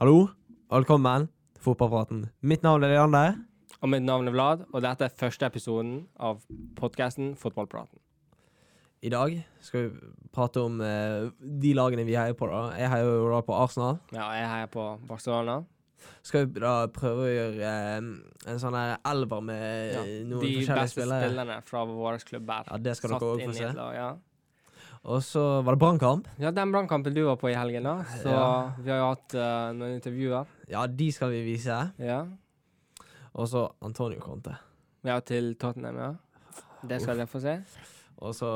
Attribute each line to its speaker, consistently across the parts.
Speaker 1: Hallo, velkommen til Fotballpraten. Mitt navn er Leander.
Speaker 2: Og mitt navn er Vlad, og dette er første episoden av podkasten Fotballpraten.
Speaker 1: I dag skal vi prate om eh, de lagene vi heier på. da. Jeg heier jo da på Arsenal.
Speaker 2: Ja, jeg heier på Barcelona.
Speaker 1: Skal vi da prøve å gjøre eh, en sånn her elver med
Speaker 2: Ja,
Speaker 1: eh, noen
Speaker 2: De
Speaker 1: forskjellige
Speaker 2: beste
Speaker 1: spillere?
Speaker 2: spillerne fra vår klubb er
Speaker 1: Ja, det skal dere også
Speaker 2: inn
Speaker 1: få
Speaker 2: i
Speaker 1: se.
Speaker 2: et lag, ja.
Speaker 1: Og så var det Brannkamp.
Speaker 2: ja, den brannkampen du var på i helgen, da. Så
Speaker 1: Ja.
Speaker 2: vi har jo hatt eh, noen intervjuer.
Speaker 1: Ja, de skal vi vise.
Speaker 2: Ja.
Speaker 1: Og så Antonio Conte.
Speaker 2: ja, til Tottenham, ja. Det skal dere få se.
Speaker 1: Og så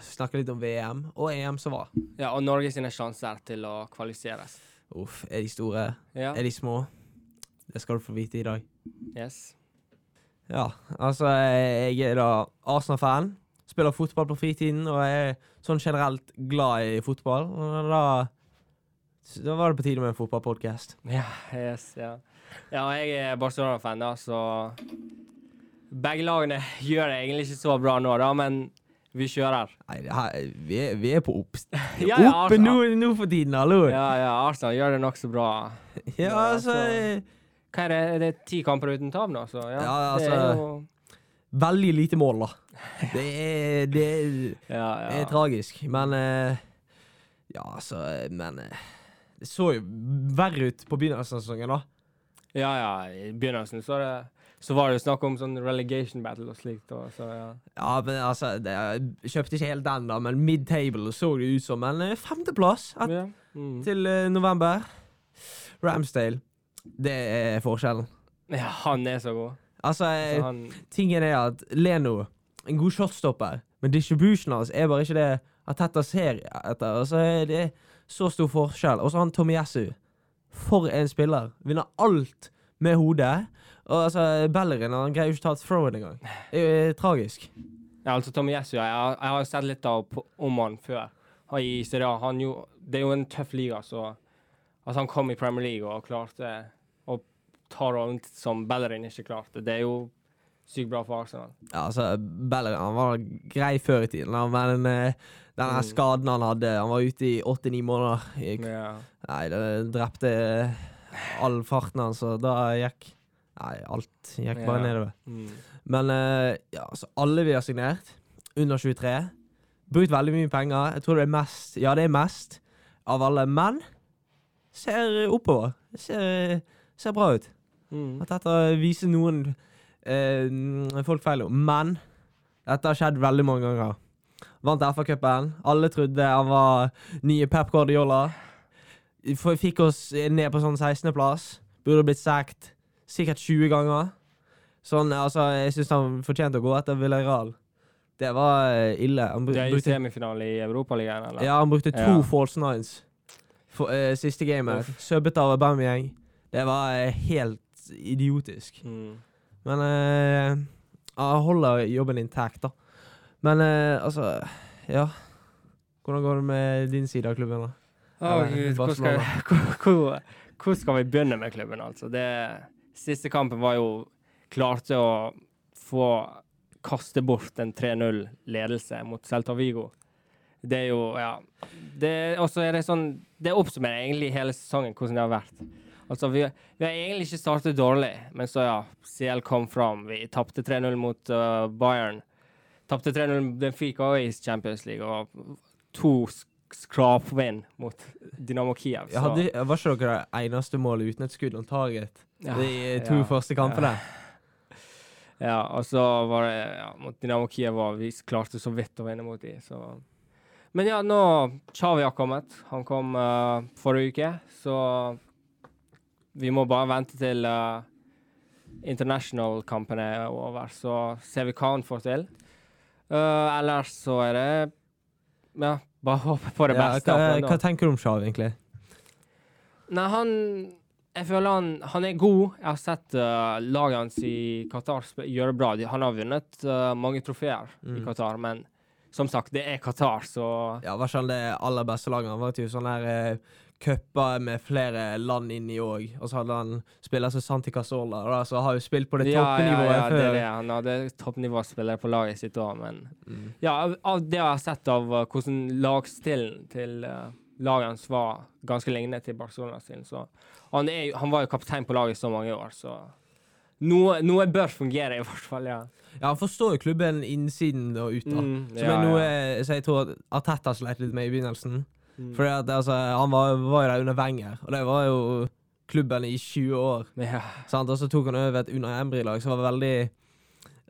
Speaker 1: snakke litt om VM og EM som var.
Speaker 2: Ja, og Norge sine sjanser til å kvalifiseres.
Speaker 1: Uff, er de store?
Speaker 2: Ja.
Speaker 1: Er de små? Det skal du få vite i dag.
Speaker 2: Yes.
Speaker 1: Ja, altså jeg er da Arsenal-fan. Spiller fotball på fritiden og er sånn generelt glad i fotball. Og da, da var det på tide med en fotballpodkast.
Speaker 2: Ja, yes, ja. ja, og jeg er Barcelona-fan, da, så Begge lagene gjør det egentlig ikke så bra nå, da, men vi kjører.
Speaker 1: Nei, det her, vi, er, vi er på opp...
Speaker 2: Ja, ja,
Speaker 1: oppe nå,
Speaker 2: Arsenal,
Speaker 1: nå for tiden, hallo! Ja,
Speaker 2: ja, ja, Arsenal gjør det nokså bra.
Speaker 1: altså
Speaker 2: altså. Hva er det? Er det ti kamper uten tap nå? Så ja,
Speaker 1: Ja,
Speaker 2: det
Speaker 1: altså,
Speaker 2: er jo
Speaker 1: Veldig lite mål, da. Det er, det er,
Speaker 2: ja,
Speaker 1: det er
Speaker 2: ja.
Speaker 1: tragisk, men eh, Ja, altså, men eh, Det så jo verre ut på begynnelsen av sesongen, da.
Speaker 2: ja, ja. I begynnelsen så, er det, så var det jo snakk om sånn relegation battle og slikt. Og, så, ja.
Speaker 1: Ja, men altså det, Jeg kjøpte ikke helt den, da, men mid-table så det ut som. Men eh, femteplass et,
Speaker 2: Ja. Mm.
Speaker 1: til eh, november. Ramsdale. Det er forskjellen.
Speaker 2: ja, han er så god.
Speaker 1: Altså,
Speaker 2: Så
Speaker 1: eh,
Speaker 2: han,
Speaker 1: tingen er at Leno En god shotstopper, men distributionen hans er bare ikke det Ateta ser etter. Altså, eh, det er så stor forskjell. Og så han Tomiyasu. For en spiller. Vinner alt med hodet. Og altså, Bellerin han greier jo ikke å ta et throw-in engang. Det er jo eh, tragisk.
Speaker 2: Ja, altså Tommy Jesu, jeg, har- jeg har jo sett litt av, på- om han før. Han i Serie A, han jo, det er jo en tøff liga, så altså, han kom i Premier League og klarte å ta rollen som Bellerin ikke klarte. Det er jo sykt bra for Arsenal.
Speaker 1: Ja, altså, Bellerin han var grei før i tiden, da, men eh, den her
Speaker 2: Mm.
Speaker 1: skaden han hadde Han var ute i åtte-ni måneder. I,
Speaker 2: Ja.
Speaker 1: nei, det drepte eh, all farten hans, og da gikk Nei, alt gikk bare
Speaker 2: Ja.
Speaker 1: nedover.
Speaker 2: Mm.
Speaker 1: Men eh, ja, altså, alle vi har signert, under 23, brukt veldig mye penger. Jeg tror det er mest Ja, det er mest av alle, men ser oppover. Ser, ser bra ut.
Speaker 2: Mm.
Speaker 1: At dette viser noen eh, folk feil om. Men dette har skjedd veldig mange ganger. Vant FA-cupen. Alle trodde han var nye Pep Guardiola. F- Fikk oss ned på sånn 16.-plass. Burde blitt sagt sikkert 20 ganger. Sånn, altså, Jeg syns han fortjente å gå etter Villarreal. Det var eh, ille. Han, bru
Speaker 2: Det er jo
Speaker 1: brukte,
Speaker 2: semifinale i Europaligaen, eller?
Speaker 1: ja, han brukte to
Speaker 2: Ja.
Speaker 1: false nines for, eh, siste gamet.
Speaker 2: Uff.
Speaker 1: Subbet av Aubameyang. Det var eh, helt idiotisk.
Speaker 2: Mm.
Speaker 1: Men eh, jeg holder jobben intakt, da. Men eh, altså Ja. Hvordan går det med din side av klubben? da?
Speaker 2: Altså- Å,
Speaker 1: Ja,
Speaker 2: Gud, hvor skal,
Speaker 1: Barcelona.
Speaker 2: hvor, hvor, hvor skal vi begynne med klubben, altså? Det, siste kampen var jo Klarte å få kaste bort en 3-0-ledelse mot Celta Vigo. Det er jo Ja. Det- Og så er det sånn Det oppsummerer egentlig hele sesongen, hvordan det har vært. Altså, vi, vi har egentlig ikke startet dårlig, men så, ja. CL kom fram. Vi tapte 3-0 mot uh, Bayern. Tapte 3-0 Benfica også i Champions League, og to sk- skrapvinn mot Dynamo Kiev.
Speaker 1: Jeg
Speaker 2: så-
Speaker 1: hadde, var ikke dere det eneste målet uten et skudd on target
Speaker 2: Ja,
Speaker 1: de to
Speaker 2: ja,
Speaker 1: første kampene?
Speaker 2: Ja, og så var det ja, mot Dynamo Kiev, og vi klarte så vidt å vinne mot dem. Så. Men ja, nå Chavi har kommet. Han kom eh, forrige uke, så vi må bare vente til eh, international-kampen er over, så ser vi hva han får til. Eh, ellers så er det Ja, bare håpe på det
Speaker 1: Ja,
Speaker 2: beste.
Speaker 1: hva,
Speaker 2: akkurat nå.
Speaker 1: hva tenker du om Shaw, egentlig?
Speaker 2: Nei, han Jeg føler han, han er god. Jeg har sett eh, laget hans i Qatar sp- gjøre det bra. De, han har vunnet eh, mange trofeer i
Speaker 1: Mm.
Speaker 2: Qatar, men som sagt, det er Qatar, så
Speaker 1: Ja, Var ikke han det aller beste laget? Han var jo sånn der eh, cuper med flere land inni òg. Og så hadde han spiller som Santi Casola, da, så har jo spilt på det toppnivået
Speaker 2: ja, ja, det er
Speaker 1: før.
Speaker 2: det. Han hadde toppnivåspiller på laget sitt òg, men
Speaker 1: Mm.
Speaker 2: Ja, av- av det jeg har sett av eh, hvordan lagstilen til eh, laget hans var ganske lignende til Barcelona sin. Så han, er, jo- han var jo kaptein på laget i så mange år, så noe, noe bør fungere, i hvert fall. ja.
Speaker 1: Ja, han forstår jo klubben innsiden og ut, da.
Speaker 2: Mm,
Speaker 1: Som er noe som jeg tror at Arteta sleit litt med i begynnelsen.
Speaker 2: Mm.
Speaker 1: Fordi at altså, Han var, var jo der under Wenger, og det var jo klubben i 20 år.
Speaker 2: ja.
Speaker 1: Sant? Og så tok han over et Unai Emry-lag som var veldig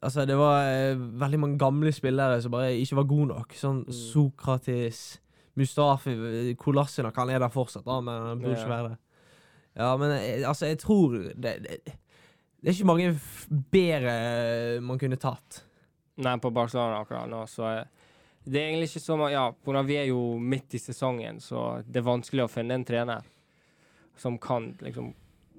Speaker 1: Altså, det var eh, veldig mange gamle spillere som bare ikke var gode nok. Sånn
Speaker 2: Mm.
Speaker 1: Sokratis, Mustafi, Kolasinac Han er der fortsatt, da, men han burde
Speaker 2: Ja.
Speaker 1: ikke være det. Ja, men eh, altså, jeg tror det, det, det er ikke mange f bedre man kunne tatt.
Speaker 2: Nei, på Barcelona akkurat nå, så eh, det er egentlig ikke så mange Ja, på grunn av vi er jo midt i sesongen, så det er vanskelig å finne en trener som kan liksom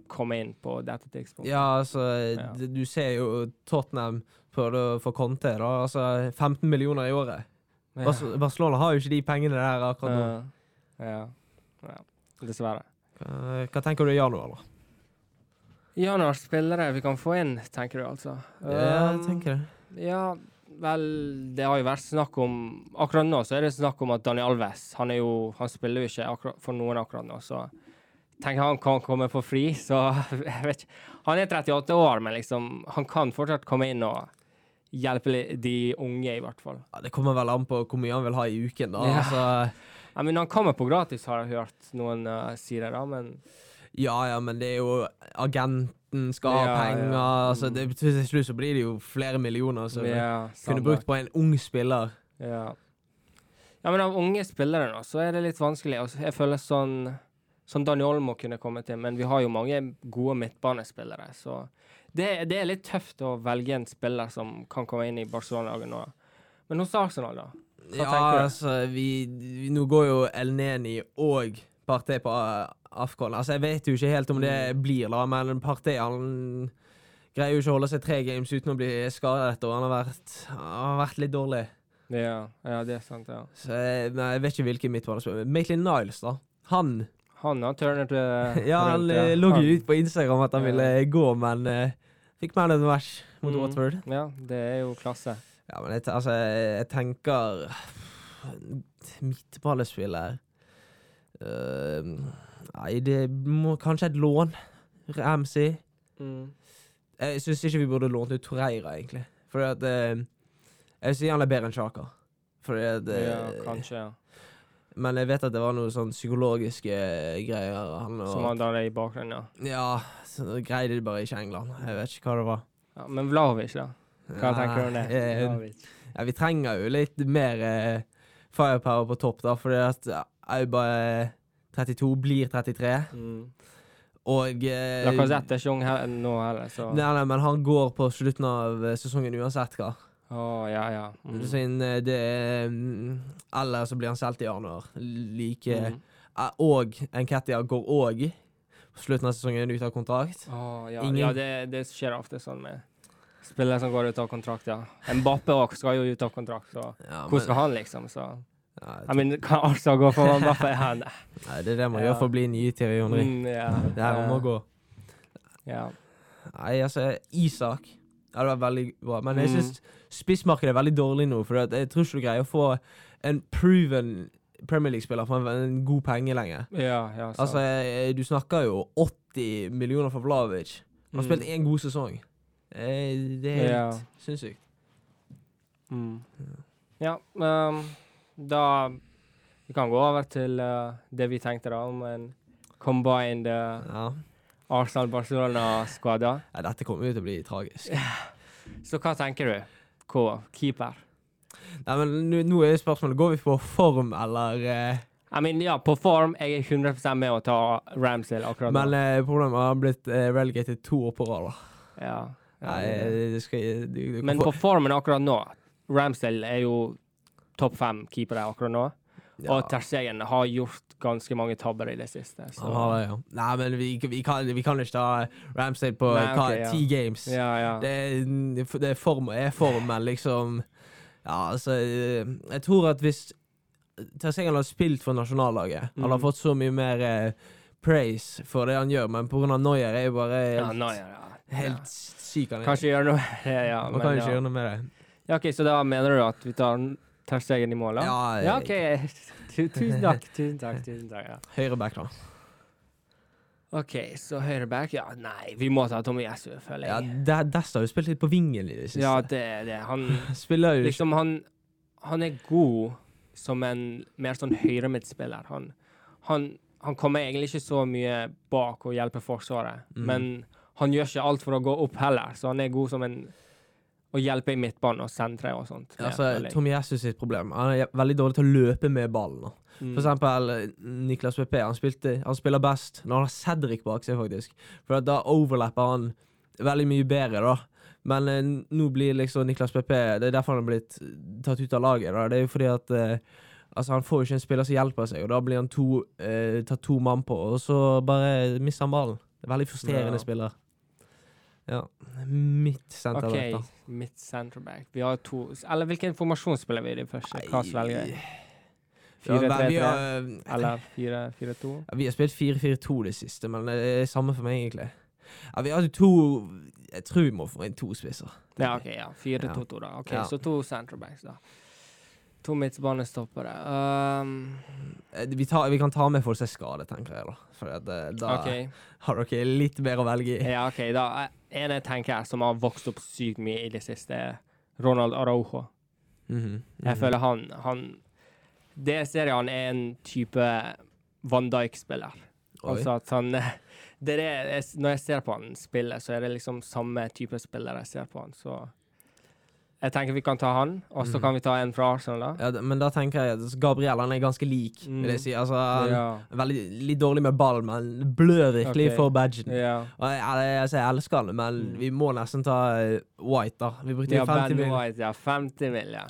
Speaker 2: komme inn på dette tidspunktet.
Speaker 1: Ja, altså, d- du ser jo Tottenham prøvde å få Conte, da. Altså 15 millioner i året.
Speaker 2: Ja.
Speaker 1: Bas Barcelona har jo ikke de pengene der akkurat nå.
Speaker 2: Ja. Eh, ja. ja. Dessverre.
Speaker 1: Hva- Hva tenker du i januar, da?
Speaker 2: Januar spillere vi kan få inn, tenker du altså?
Speaker 1: Ja, jeg
Speaker 2: Um,
Speaker 1: tenker det.
Speaker 2: Ja, vel Det har jo vært snakk om Akkurat nå så er det snakk om at Daniel Alves Han, er jo, han spiller jo ikke akkurat, for noen akkurat nå, så tenker han kan komme på fri, så jeg vet ikke. Han er 38 år, men liksom Han kan fortsatt komme inn og hjelpe li- de unge, i hvert fall.
Speaker 1: Ja, det kommer vel an på hvor mye han vil ha i uken, da.
Speaker 2: Ja.
Speaker 1: Altså,
Speaker 2: Jeg mener, han kommer på gratis, har jeg hørt noen uh, si det, da, men
Speaker 1: ja ja, men det er jo Agenten skal ha
Speaker 2: Ja, ja.
Speaker 1: penger. Altså, det betyr Til slutt så blir det jo flere millioner som vi
Speaker 2: ja,
Speaker 1: kunne
Speaker 2: samme.
Speaker 1: brukt på en ung spiller.
Speaker 2: Ja. ja, men av unge spillere nå, så er det litt vanskelig. Altså, jeg føler sånn Sånn Daniel Olmo kunne komme til, men vi har jo mange gode midtbanespillere, så det, det er litt tøft å velge en spiller som kan komme inn i Barcelona-laget nå. Men hos Arsenal, da? Hva
Speaker 1: Ja,
Speaker 2: tenker du?
Speaker 1: altså, vi, vi Nå går jo El Neni og Partey på eh, Afcon. Altså, jeg vet jo ikke helt om det
Speaker 2: Mm.
Speaker 1: blir, da, men Partey han greier jo ikke å holde seg tre games uten å bli skadet dette år. Han har vært, han har vært litt dårlig.
Speaker 2: Ja, ja, det er sant, ja.
Speaker 1: Så jeg, nei, jeg vet ikke hvilken midtbanespiller. Maitland Niles, da. Han
Speaker 2: Han har turnet eh,
Speaker 1: Ja, han
Speaker 2: rundt,
Speaker 1: eh, lå
Speaker 2: Han-
Speaker 1: jo ut på Instagram at han
Speaker 2: Ja.
Speaker 1: ville gå, men eh, fikk man en match mot
Speaker 2: Mm.
Speaker 1: Watford.
Speaker 2: Ja, det er jo klasse.
Speaker 1: Ja, men jeg, te- altså, jeg, jeg tenker Midtballespiller Eh, Nei, det må kanskje et lån. Ramsey.
Speaker 2: Mm.
Speaker 1: Jeg syns ikke vi burde lånt ut Torreira, egentlig. Fordi at eh, Jeg sier han er bedre enn Sjaka. Fordi at
Speaker 2: ja,
Speaker 1: eh,
Speaker 2: kanskje. ja.
Speaker 1: Men jeg vet at det var noen sånn psykologiske eh, greier. Han og,
Speaker 2: Som han da er i bakgrunnen, ja.
Speaker 1: Ja, så greide de bare ikke England. Jeg vet ikke hva det var.
Speaker 2: ja. Men Vlahovic, da? Hva tenker du om det?
Speaker 1: Nei, eh,
Speaker 2: Vlahovic.
Speaker 1: Ja, vi trenger jo litt mer eh, firepower på topp, da, fordi at Auba eh, 32 blir 33,
Speaker 2: Mm.
Speaker 1: og eh,
Speaker 2: Lacazette er ikke ung he- nå heller, så
Speaker 1: Nei, nei, men han går på slutten av eh, sesongen uansett, hva.
Speaker 2: Å, ja, ja. Mm.
Speaker 1: Siden, eh, det er mm, Eller så blir han solgt i januar. Like
Speaker 2: Mm.
Speaker 1: eh, Og Enketia går òg på slutten av sesongen ut av kontrakt.
Speaker 2: Å, ja,
Speaker 1: Ingen-
Speaker 2: ja det, det skjer ofte sånn med spillere som går ut av kontrakt, ja. Mbappe også skal jo ut av kontrakt, så
Speaker 1: Ja,
Speaker 2: hvor skal han, liksom? Så
Speaker 1: ja,
Speaker 2: Jeg mener, kan Arsenal gå for Mbappe? Ja, nei.
Speaker 1: nei, det er det man
Speaker 2: Ja.
Speaker 1: gjør for å bli nye Thierry Henry.
Speaker 2: Mm, ja.
Speaker 1: Det her må gå.
Speaker 2: Ja.
Speaker 1: Nei, altså, Isak hadde vært veldig bra. Men jeg
Speaker 2: Mm.
Speaker 1: syns spissmarkedet er veldig dårlig nå. For jeg tror ikke du greier å få en proven Premier League-spiller for en, en god penge lenger.
Speaker 2: Ja, ja, sant.
Speaker 1: Altså, eh, du snakker jo 80 millioner for Vlavic. Han har
Speaker 2: Mm.
Speaker 1: spilt én god sesong. Eh, Det er
Speaker 2: Ja.
Speaker 1: helt sinnssykt.
Speaker 2: Mm. Ja, um, da Vi kan gå over til eh, det vi tenkte da om en combined eh,
Speaker 1: Ja.
Speaker 2: Arsenal-Barcelona-skvada.
Speaker 1: ja, dette kommer jo til å bli tragisk.
Speaker 2: Så hva tenker du? K, keeper?
Speaker 1: Nei, men nå- nå er jo spørsmålet Går vi på form, eller eh,
Speaker 2: I mean, ja, på form jeg er 100 med å ta Ramsdale akkurat nå.
Speaker 1: Men eh, problemet er at han har blitt eh, relegated to år på rad. da.
Speaker 2: ja. Ja,
Speaker 1: Nei, eh,
Speaker 2: det er det.
Speaker 1: det skal du, du kan
Speaker 2: Men
Speaker 1: få-
Speaker 2: på formen akkurat nå Ramsdale er jo topp fem keepere akkurat nå.
Speaker 1: Ja.
Speaker 2: Og Terstegen har gjort ganske mange tabber i det siste. Så.
Speaker 1: Han har det, ja. Nei, men vi, vi, kan, vi kan ikke ta Ramsdale på
Speaker 2: Nei, ok,
Speaker 1: hva,
Speaker 2: ja.
Speaker 1: ti games.
Speaker 2: Ja, ja.
Speaker 1: Det, er- det er form og er form, men liksom Ja, altså eh, Jeg tror at hvis Tersengen har spilt for nasjonallaget Han har
Speaker 2: Mm.
Speaker 1: fått så mye mer eh, praise for det han gjør, men pga. Noyer er jo bare helt,
Speaker 2: ja, nå, ja, ja.
Speaker 1: helt
Speaker 2: ja.
Speaker 1: syk. Han, er.
Speaker 2: Kanskje gjøre noe ja, ja,
Speaker 1: Man
Speaker 2: men
Speaker 1: kan jo
Speaker 2: ja.
Speaker 1: ikke gjøre noe med det.
Speaker 2: ja, OK, så da mener du at vi tar Terstegen i mål, da?
Speaker 1: Ja,
Speaker 2: ja OK. Tu- Tusen takk, tusen takk. tusen takk, ja.
Speaker 1: Høyreback, da.
Speaker 2: OK, så høyreback Ja, nei, vi må ta Tommy Jesu, føler
Speaker 1: Ja,
Speaker 2: jeg.
Speaker 1: De- Dest har jo spilt litt på vingen i det siste.
Speaker 2: Ja, det er det. Han
Speaker 1: Spiller jo
Speaker 2: liksom Han, han er god som en mer sånn høyremidtspiller. Han, han, han kommer egentlig ikke så mye bak og hjelper Forsvaret,
Speaker 1: Mm.
Speaker 2: men han gjør ikke alt for å gå opp heller, så han er god som en å hjelpe i midtbanen og sentre og sånt. Det
Speaker 1: altså,
Speaker 2: føler jeg.
Speaker 1: Tommy Jesus sitt problem. Han er veldig dårlig til å løpe med ballen. da.
Speaker 2: Mm.
Speaker 1: For eksempel eh, Niklas Pepe. Han, spilte, han spiller best når han har Cedric bak seg, faktisk. For at da overlapper han veldig mye bedre, da. Men eh, nå blir liksom Niklas Pepe Det er derfor han er blitt eh, tatt ut av laget. da. Det er jo fordi at eh, Altså, Han får jo ikke en spiller som hjelper seg, og da blir han to, eh, tatt to mann på, og så bare mister han ballen. Det er Veldig frustrerende
Speaker 2: Ja.
Speaker 1: spiller. Ja. Mitt senter
Speaker 2: OK,
Speaker 1: da.
Speaker 2: mitt centerback. Vi har to Eller hvelken formasjon spiller vi i det første? Hva velger vi?
Speaker 1: Ja, men vi
Speaker 2: 4-3-3
Speaker 1: har-
Speaker 2: eller 4-4-2?
Speaker 1: Ja, vi har spilt 4-4-2 det siste, men det er samme for meg, egentlig. Ja, vi har jo to Jeg tror vi må få inn to spisser.
Speaker 2: Ja, OK. ja. 4-2-2, da. OK,
Speaker 1: Ja.
Speaker 2: så to centerbacks, da. To midtbanestoppere. Um,
Speaker 1: Eh, Vi, tar, vi kan ta med folk som er skadet, tenker jeg, da. For at, eh, da
Speaker 2: OK.
Speaker 1: har dere litt mer å velge i.
Speaker 2: Ja, ok, da eh, En jeg tenker som har vokst opp sykt mye i det siste, er Ronald Araujo.
Speaker 1: Mhm,
Speaker 2: Jeg
Speaker 1: mhm.
Speaker 2: føler han, han Det ser jeg han er en type Van Dijk-spiller.
Speaker 1: Oi.
Speaker 2: Altså at han eh, det er det jeg, s- Når jeg ser på han spille, så er det liksom samme type spiller jeg ser på han, så Jeg tenker vi kan ta han, og så
Speaker 1: Mhm.
Speaker 2: kan vi ta en fra Arsenal, da.
Speaker 1: ja, d- men da tenker jeg at Gabriel han er ganske lik, vil jeg si. Altså, han
Speaker 2: Mm. Ja.
Speaker 1: er veldig, litt dårlig med ball, men blør virkelig
Speaker 2: Ok.
Speaker 1: for badgen.
Speaker 2: ja.
Speaker 1: Og jeg, jeg, altså, jeg elsker han, men
Speaker 2: Mm.
Speaker 1: vi må nesten ta eh, White, da. Vi brukte jo
Speaker 2: Ja,
Speaker 1: 50
Speaker 2: Ben
Speaker 1: mil.
Speaker 2: White, ja. 50 mil, ja.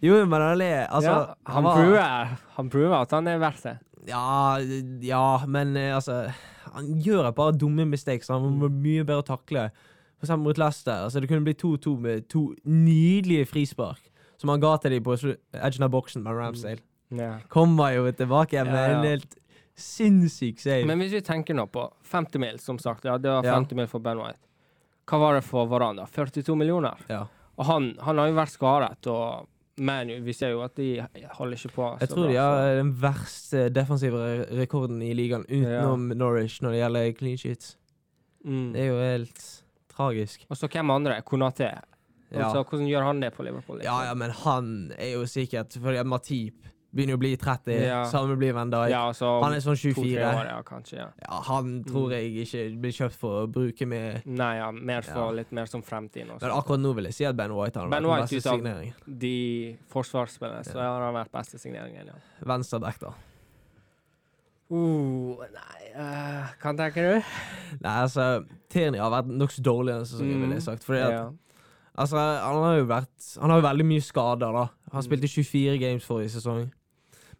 Speaker 1: Jo, men han er altså,
Speaker 2: ja han,
Speaker 1: var-
Speaker 2: prover, han prover at han er verdt det.
Speaker 1: Ja, ja, men eh, altså Han gjør bare dumme mistakes. Han
Speaker 2: Mm.
Speaker 1: var mye bedre å takle. For eksempel mot Leicester. Altså, det kunne bli 2-2 med to nydelige frispark. Som han ga til dem på slu- edgen av boksen med Ramsdale.
Speaker 2: Ja.
Speaker 1: Kommer jo tilbake med
Speaker 2: Mm. Ja, ja.
Speaker 1: en helt sinnssyk save.
Speaker 2: Men hvis vi tenker nå på 50 mil, som sagt. Ja, det var
Speaker 1: Ja.
Speaker 2: 50 mil for Ben White. Hva var det for Varan, da? 42 millioner?
Speaker 1: ja.
Speaker 2: Og han, han har jo vært skadet, og men vi ser jo at de holder ikke på
Speaker 1: Jeg tror de har den verste defensive re- rekorden i ligaen utenom Norwich når det gjelder clean sheets. Det
Speaker 2: mm.
Speaker 1: er jo helt tragisk.
Speaker 2: Og så hvem andre? Konaté.
Speaker 1: Ja.
Speaker 2: Altså, hvordan gjør han det på Liverpool? liksom?
Speaker 1: Ja, ja, men han er jo sikkert Fordi at Matip begynner jo å bli 30,
Speaker 2: Ja.
Speaker 1: samme blir Van Dijk.
Speaker 2: ja altså,
Speaker 1: Han er sånn
Speaker 2: To-tre
Speaker 1: 24.
Speaker 2: år, Mm. ja, kanskje. ja.
Speaker 1: Ja, han tror jeg ikke blir kjøpt for å bruke med
Speaker 2: Nei, ja, mer for,
Speaker 1: Ja.
Speaker 2: litt mer som fremtiden. Også.
Speaker 1: Men akkurat nå vil jeg si at Ben White har
Speaker 2: Altså.
Speaker 1: vært
Speaker 2: Ben
Speaker 1: den
Speaker 2: White
Speaker 1: beste
Speaker 2: ut av-
Speaker 1: signeringen.
Speaker 2: De forsvarsspillerne, så har han vært beste signeringen, ja.
Speaker 1: Venstreback, da.
Speaker 2: Uh, nei, eh, hva tenker du?
Speaker 1: Nei, altså Tierney har vært nokså dårlig denne sesongen,
Speaker 2: Mm.
Speaker 1: vil jeg sagt. Fordi at, altså, han har jo vært Han har jo veldig mye skader, da. Han
Speaker 2: Mm.
Speaker 1: spilte 24 games forrige sesong.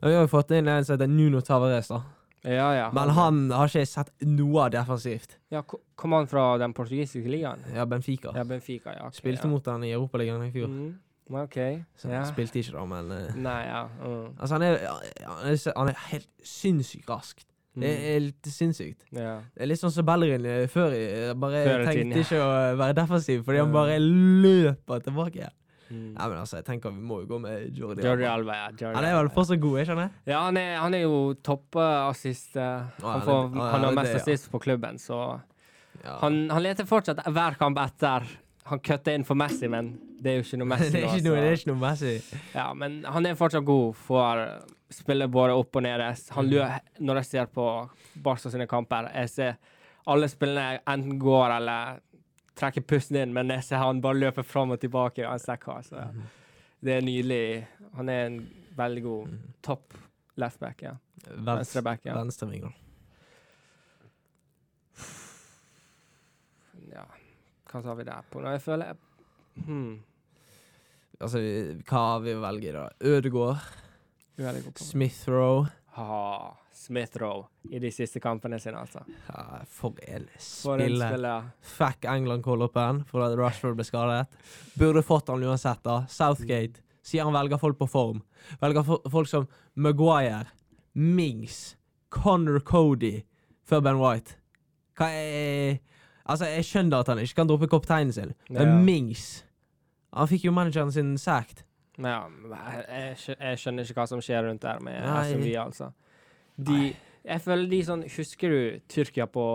Speaker 1: Men vi har jo fått inn en som heter Nuno Tavares, da.
Speaker 2: ja, ja.
Speaker 1: Men han har ikke sett noe defensivt.
Speaker 2: Ja, ko- kom han fra den portugisiske ligaen?
Speaker 1: Ja, Benfica.
Speaker 2: Ja, Benfica, ja. ok,
Speaker 1: Spilte
Speaker 2: ja.
Speaker 1: mot han i Europaligaen i fjor.
Speaker 2: Mhm. OK.
Speaker 1: Så
Speaker 2: Ja.
Speaker 1: han Spilte ikke, da, men eh,
Speaker 2: Nei, ja. Mm.
Speaker 1: Altså, han er, han er, han er helt sinnssykt rask.
Speaker 2: Mm.
Speaker 1: Det er helt sinnssykt.
Speaker 2: Ja.
Speaker 1: Det er litt sånn som Bellerin eh, før i. Jeg Bare
Speaker 2: Før i
Speaker 1: tenkte
Speaker 2: tiden, ja. Mm.
Speaker 1: ikke å eh, være defensiv, fordi han
Speaker 2: Ja.
Speaker 1: bare løper tilbake. igjen.
Speaker 2: Mm.
Speaker 1: Nei, men altså, jeg tenker vi må jo gå med Jordi.
Speaker 2: Jordi
Speaker 1: Alba.
Speaker 2: Alba, ja. Jordi
Speaker 1: Han er vel
Speaker 2: Alba.
Speaker 1: fortsatt god, ikke sant?
Speaker 2: Ja, han er, han er jo toppassist. eh,
Speaker 1: han
Speaker 2: han,
Speaker 1: er-
Speaker 2: får,
Speaker 1: ja,
Speaker 2: han
Speaker 1: han
Speaker 2: har
Speaker 1: er det,
Speaker 2: mest
Speaker 1: ja.
Speaker 2: assist på klubben, så
Speaker 1: Ja.
Speaker 2: han, han leter fortsatt hver kamp etter. Han kutta inn for Messi, men det er jo ikke noe Messi
Speaker 1: det, er
Speaker 2: nå. altså.
Speaker 1: ikke noe, det
Speaker 2: så-
Speaker 1: er ikke noe Messi.
Speaker 2: Ja, men han er fortsatt god for å spille både opp og nede. Han lø når jeg ser på Barca sine kamper, jeg ser alle spillene enten går eller trekker pusten inn, men jeg ser han bare løper fram og tilbake uansett hva. Så det er nydelig. Han er en veldig god topp leftback, ja.
Speaker 1: Venstre,
Speaker 2: Venstreback, ja.
Speaker 1: venstreving, da.
Speaker 2: ja. Hva sa vi der på? Nå, jeg føler hmm,
Speaker 1: Altså, vi- hva vi velger da? Ødegaard,
Speaker 2: du er veldig god på
Speaker 1: Smith Rowe
Speaker 2: ha, Smith Rowe i de siste kampene sine, altså.
Speaker 1: ja, For en
Speaker 2: For en
Speaker 1: spiller.
Speaker 2: spiller.
Speaker 1: Fikk England call-upen fordi Rashford ble skadet. Burde fått han uansett, da. Southgate sier han velger folk på form. Velger fo- folk som Maguire, Mings, Connor Cody før Ben White. Hva er Altså, jeg skjønner at han ikke kan droppe kapteinen sin, men
Speaker 2: Ja.
Speaker 1: Mings Han fikk jo manageren sin sacked.
Speaker 2: Men ja, jeg, jeg skjø- jeg skjønner ikke hva som skjer rundt der med
Speaker 1: Nei.
Speaker 2: SMV, altså. De, jeg føler de sånn Husker du Tyrkia på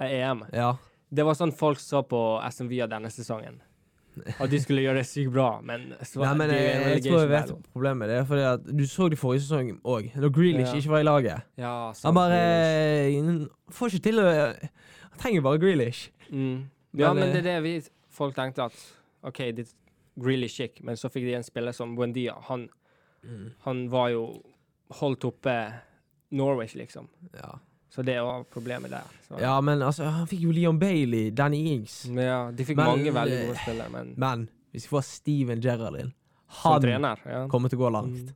Speaker 2: EM?
Speaker 1: Ja.
Speaker 2: Det var sånn folk så på SMV av denne sesongen. At de skulle gjøre det sykt bra, men så
Speaker 1: Nei, men
Speaker 2: de
Speaker 1: jeg,
Speaker 2: er
Speaker 1: jeg,
Speaker 2: en
Speaker 1: tror jeg vet
Speaker 2: relegation
Speaker 1: problemet. Det er fordi at du så det forrige sesong òg, når Grealish
Speaker 2: Ja.
Speaker 1: ikke var i laget.
Speaker 2: battle. Ja, sant,
Speaker 1: Han bare
Speaker 2: Grealish.
Speaker 1: han får ikke til å Han trenger bare Grealish.
Speaker 2: mm. Ja,
Speaker 1: Men,
Speaker 2: men det
Speaker 1: eh,
Speaker 2: er det vi folk tenkte at OK, det er really chic, men så fikk de en spiller som Buendia. Han,
Speaker 1: Mm.
Speaker 2: han var jo holdt oppe Norwich, liksom.
Speaker 1: Ja.
Speaker 2: Så det var problemet der. Så.
Speaker 1: ja, men altså, han fikk jo Leon Bailey, Danny Ings.
Speaker 2: Ja, de fikk
Speaker 1: Men- eh,
Speaker 2: mange veldig gode spillere, men
Speaker 1: Men hvis vi får Steven Gerrardin
Speaker 2: som
Speaker 1: Han
Speaker 2: trener Mm. ja.
Speaker 1: kommer til å gå langt.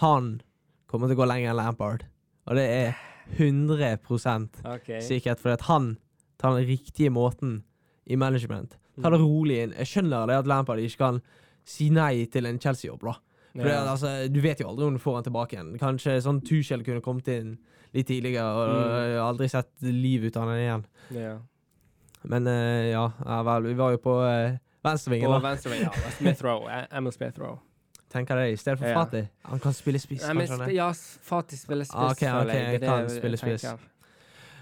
Speaker 1: Han kommer til å gå lenger enn Lampard. Og det er 100
Speaker 2: Mm. Ok.
Speaker 1: sikkert, fordi at han tar den riktige måten i management. Ta det
Speaker 2: Mm.
Speaker 1: rolig inn. Jeg skjønner det at Lampard ikke kan si nei til en Chelsea-jobb, da. For det, at,
Speaker 2: Ja.
Speaker 1: altså, du vet jo aldri om du får han tilbake igjen. Kanskje sånn Tuchel kunne kommet inn litt tidligere og
Speaker 2: Mm.
Speaker 1: øh, aldri sett liv ut av han igjen.
Speaker 2: Ja.
Speaker 1: Men øh, ja, ja vel, vi var jo på øh, venstrevingen,
Speaker 2: På
Speaker 1: da.
Speaker 2: venstre vei, ja. Smith Rowe. Emil Smith Rowe.
Speaker 1: Tenker det i stedet for
Speaker 2: Ja.
Speaker 1: Fati. Han kan spille spiss,
Speaker 2: Nei, men
Speaker 1: kanskje. han
Speaker 2: sp-
Speaker 1: er.
Speaker 2: ja, s- Fatih spiller spiss,
Speaker 1: Ah, ok,
Speaker 2: føler
Speaker 1: ok,
Speaker 2: jeg. Det er
Speaker 1: kan
Speaker 2: det jeg
Speaker 1: spille spiss.
Speaker 2: tenker.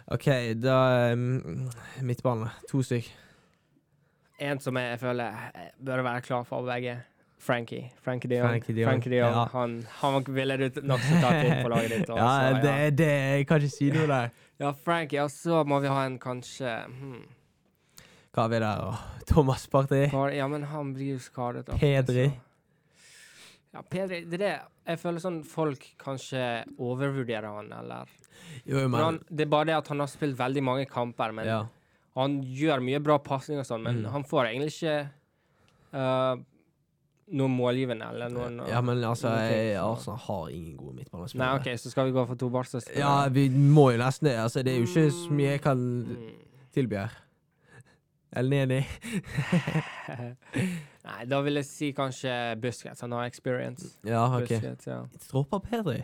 Speaker 1: OK, da um, Midtbane. To stykk.
Speaker 2: En som jeg føler eh, bør være klar for begge. Frankie. Frankie Dion.
Speaker 1: Frankie de Jong,
Speaker 2: Frankie Dion.
Speaker 1: ja.
Speaker 2: Han, han ville du nokså tatt inn på laget ditt. og
Speaker 1: ja,
Speaker 2: så,
Speaker 1: det,
Speaker 2: ja.
Speaker 1: det Jeg kan ikke si noe der.
Speaker 2: ja, Frankie. Og så må vi ha en kanskje hmm.
Speaker 1: Hva har vi der? Åh, Thomas Party.
Speaker 2: Var- Ja, men han blir jo skadet. ofte,
Speaker 1: Pedri.
Speaker 2: så- Ja, Pedri. Det er det. Jeg føler sånn folk kanskje overvurderer han, eller
Speaker 1: Jo,
Speaker 2: Men han,
Speaker 1: men
Speaker 2: Det er bare det at han har spilt veldig mange kamper, men
Speaker 1: ja.
Speaker 2: han gjør mye bra pasning og sånn, men
Speaker 1: Mm.
Speaker 2: han får egentlig ikke eh, noen målgivende eller noen
Speaker 1: ja, men altså,
Speaker 2: noen ting,
Speaker 1: jeg,
Speaker 2: så-
Speaker 1: Arsenal har ingen gode
Speaker 2: Nei,
Speaker 1: midtbanespillere.
Speaker 2: OK, så skal vi gå for to Barca-spillere.
Speaker 1: Ja, vi må jo nesten det. Altså, det er jo ikke så mye jeg kan tilby her. Eller Neni.
Speaker 2: Mm. Nei, da vil jeg si kanskje Busquets. Han har experience.
Speaker 1: Ja, OK.
Speaker 2: Busquets, ja.
Speaker 1: Dropper Pedri.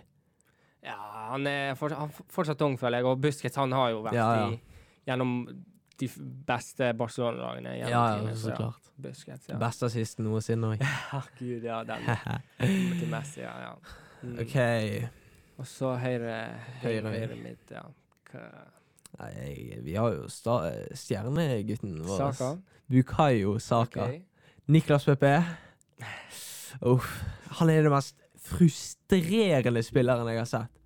Speaker 2: ja, han er fortsatt, han er fortsatt ung, føler jeg, og Busquets han har jo vært
Speaker 1: Ja, ja.
Speaker 2: I, gjennom de f- beste Barcelona-lagene.
Speaker 1: Ja,
Speaker 2: gjennom
Speaker 1: ja,
Speaker 2: tidene,
Speaker 1: så klart.
Speaker 2: Busquets, ja.
Speaker 1: Beste assisten noensinne òg.
Speaker 2: Ja, Gud, ja, den til Messi, ja. ja. Mm.
Speaker 1: OK. Nei,
Speaker 2: Og så høyre,
Speaker 1: Høyre.
Speaker 2: høyre, høyre midt, ja. Hva-
Speaker 1: jeg- vi har jo sta- stjernegutten vår.
Speaker 2: Saka?
Speaker 1: Bukayo Saka.
Speaker 2: Ok.
Speaker 1: Niklas Pepe. Uff. Han er den mest frustrerende spilleren jeg har sett.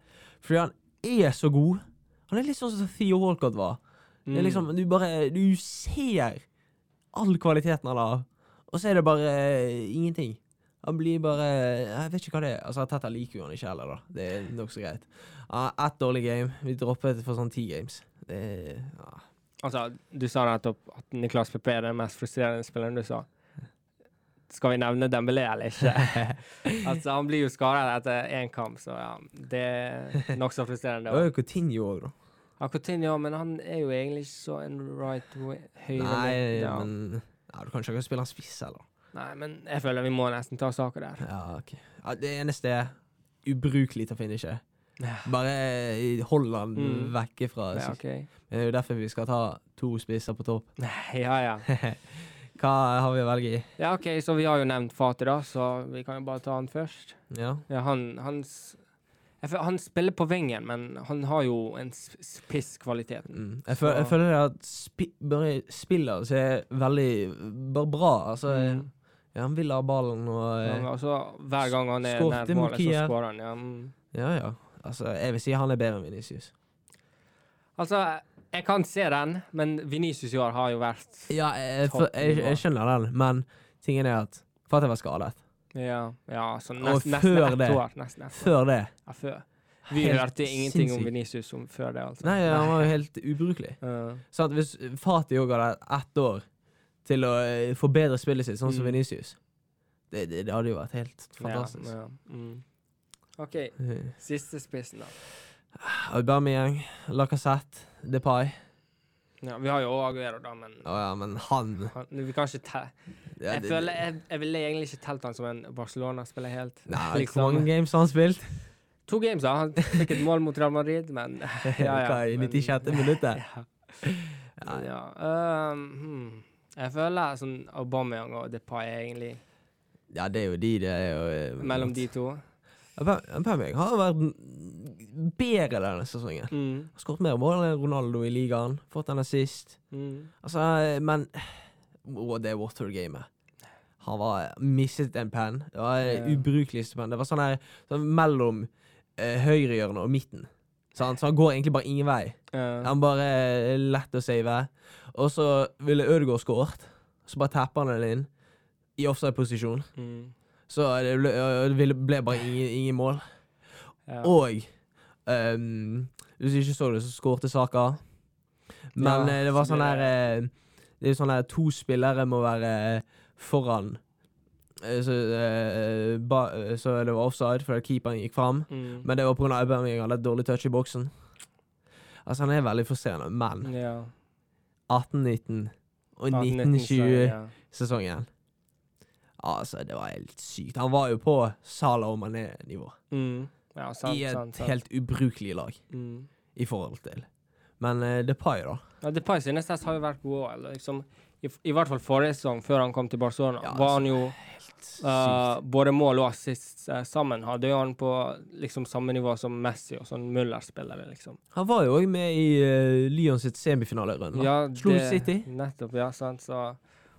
Speaker 1: Fordi han er så god. Han er litt sånn som Theo Walcott var. Det
Speaker 2: Mm.
Speaker 1: er liksom, du bare Du ser all kvaliteten han har, og så er det bare eh, ingenting. Han blir bare Jeg vet ikke hva det er. Altså, Tetta liker jo han ikke heller, da. Det er nokså greit. Ja, Ett dårlig game. Vi droppet for sånn ti games. Det er- ja.
Speaker 2: Altså, du sa nettopp at Niklas Pepe er den mest frustrerende spilleren du sa. Skal vi nevne Dembélé eller ikke? altså, han blir jo skadet etter én kamp, så ja. Det er nokså frustrerende.
Speaker 1: Det var jo Coutinho òg, da.
Speaker 2: Ja, Coutinho, men han er jo egentlig ikke så en right way, høyre
Speaker 1: Nei,
Speaker 2: midt, ja.
Speaker 1: men Nei, Du kan ikke spille han spiss, heller.
Speaker 2: Nei, men jeg føler vi må nesten ta saken der.
Speaker 1: Ja, ok. Ja, det eneste er ubrukelig til å finne
Speaker 2: Ja.
Speaker 1: Bare eh, hold han
Speaker 2: Mm.
Speaker 1: vekke fra
Speaker 2: Ja,
Speaker 1: sist.
Speaker 2: OK.
Speaker 1: Det er jo derfor vi skal ta to spisser på topp.
Speaker 2: Ja, ja.
Speaker 1: Hva har vi å velge i?
Speaker 2: Ja, OK, så vi har jo nevnt Fati, da, så vi kan jo bare ta han først.
Speaker 1: Ja.
Speaker 2: Ja, han, han, s- jeg føler, han spiller på vingen, men han har jo en sp- spisskvalitet.
Speaker 1: Mm. Jeg, føl jeg føler det at spi bare spiller så er veldig bare bra. Altså,
Speaker 2: Mm.
Speaker 1: ja, han vil ha ballen og
Speaker 2: Ja, men
Speaker 1: eh,
Speaker 2: også, hver gang han er
Speaker 1: Skårte
Speaker 2: nær målet, så
Speaker 1: Mokia.
Speaker 2: skårer han. Ja. mm.
Speaker 1: Ja, ja. Altså, jeg vil si han er bedre enn Vinicius.
Speaker 2: Altså, jeg kan se den, men Vinicius i år har jo vært
Speaker 1: Ja, jeg, jeg, jeg, jeg skjønner den, men tingen er at Fatih var skadet.
Speaker 2: Ja, ja så
Speaker 1: Og
Speaker 2: nest, nesten
Speaker 1: før
Speaker 2: ett
Speaker 1: det.
Speaker 2: år. Nesten ett år.
Speaker 1: Før det
Speaker 2: Ja, før. Vi
Speaker 1: Helt
Speaker 2: hørte ingenting om
Speaker 1: sinnssykt.
Speaker 2: Vinicius om før det, altså.
Speaker 1: Nei, han var jo helt ubrukelig.
Speaker 2: Ja.
Speaker 1: Sant? Hvis Fati òg hadde hatt ett år til å eh, forbedre spillet sitt, sånn som
Speaker 2: Mm.
Speaker 1: Venicius det, det, det hadde jo vært helt fantastisk.
Speaker 2: Ja, ja. Mm. OK,
Speaker 1: Eh,
Speaker 2: siste spissen, da.
Speaker 1: Aubameyang, Lacassette, Depay
Speaker 2: Ja, vi har jo også Aguero, da, men
Speaker 1: Å ja, men han
Speaker 2: han, vi kan ikke te
Speaker 1: ja,
Speaker 2: jeg,
Speaker 1: det-
Speaker 2: føler, jeg, jeg ville egentlig ikke telt han som en Barcelona-spiller helt.
Speaker 1: Nei,
Speaker 2: liksom.
Speaker 1: Hvor mange games har han spilt?
Speaker 2: To games, da. Han fikk et mål mot Real Madrid, men ja, ja.
Speaker 1: Hva, I
Speaker 2: men-
Speaker 1: 96. minuttet?
Speaker 2: Ja. Men ja. ehm, hmm. Jeg føler sånn Aubameyang og Depay er egentlig
Speaker 1: Ja, det er jo de, det er jo eh,
Speaker 2: mellom de to.
Speaker 1: Aubameyang har vært n- bedre denne sesongen.
Speaker 2: Mm.
Speaker 1: Har skåret mer mål enn Ronaldo i ligaen. Fått en assist.
Speaker 2: Mm.
Speaker 1: Altså, men Å, det Water-gamet. Han var eh, mistet en penn. Det var eh,
Speaker 2: Ja.
Speaker 1: ubrukelig penn. Det var sånn her sånn mellom eh, høyrehjørnet og midten. Sant? Så han går egentlig bare ingen vei.
Speaker 2: Ja.
Speaker 1: Han bare er lett å save. Og så ville Ødegaard skåret. Så bare tapper han den inn i offside-posisjon.
Speaker 2: Mm.
Speaker 1: Så det ble, øh, det ville- ble bare ingen, ingen mål.
Speaker 2: Ja.
Speaker 1: Og ehm, Hvis du ikke så det, så skårte Saka. Men
Speaker 2: Ja,
Speaker 1: eh, det var
Speaker 2: så
Speaker 1: sånn
Speaker 2: blir
Speaker 1: her eh, Det er jo sånn her to spillere må være eh, foran. Eh, Så, eh, ba, eh, så det var offside fordi keeperen gikk fram.
Speaker 2: Mm.
Speaker 1: Men det var pga. Aubameyang hadde et dårlig touch i boksen. Altså Han er veldig frustrerende, men
Speaker 2: ja.
Speaker 1: 18-19 og 1920-sesongen Altså, det var helt sykt. Han var jo på Salah og Mané-nivå.
Speaker 2: Mm. Ja, sant,
Speaker 1: I et
Speaker 2: sant, sant.
Speaker 1: helt ubrukelig lag
Speaker 2: Mm.
Speaker 1: i forhold til. Men eh, Depay, da.
Speaker 2: Ja, Depay sine stats har jo vært gode. eller Liksom, i, I hvert fall forrige sesong, før han kom til Barcelona,
Speaker 1: Ja,
Speaker 2: var han jo
Speaker 1: Helt
Speaker 2: eh,
Speaker 1: sykt.
Speaker 2: både mål og assist eh, sammen. Hadde jo han på liksom samme nivå som Messi og sånn Müller-spillere, liksom.
Speaker 1: Han var jo òg med i eh, Lyon sitt semifinalerunde. da.
Speaker 2: Ja,
Speaker 1: Slo City.
Speaker 2: Nettopp, ja, sant. Så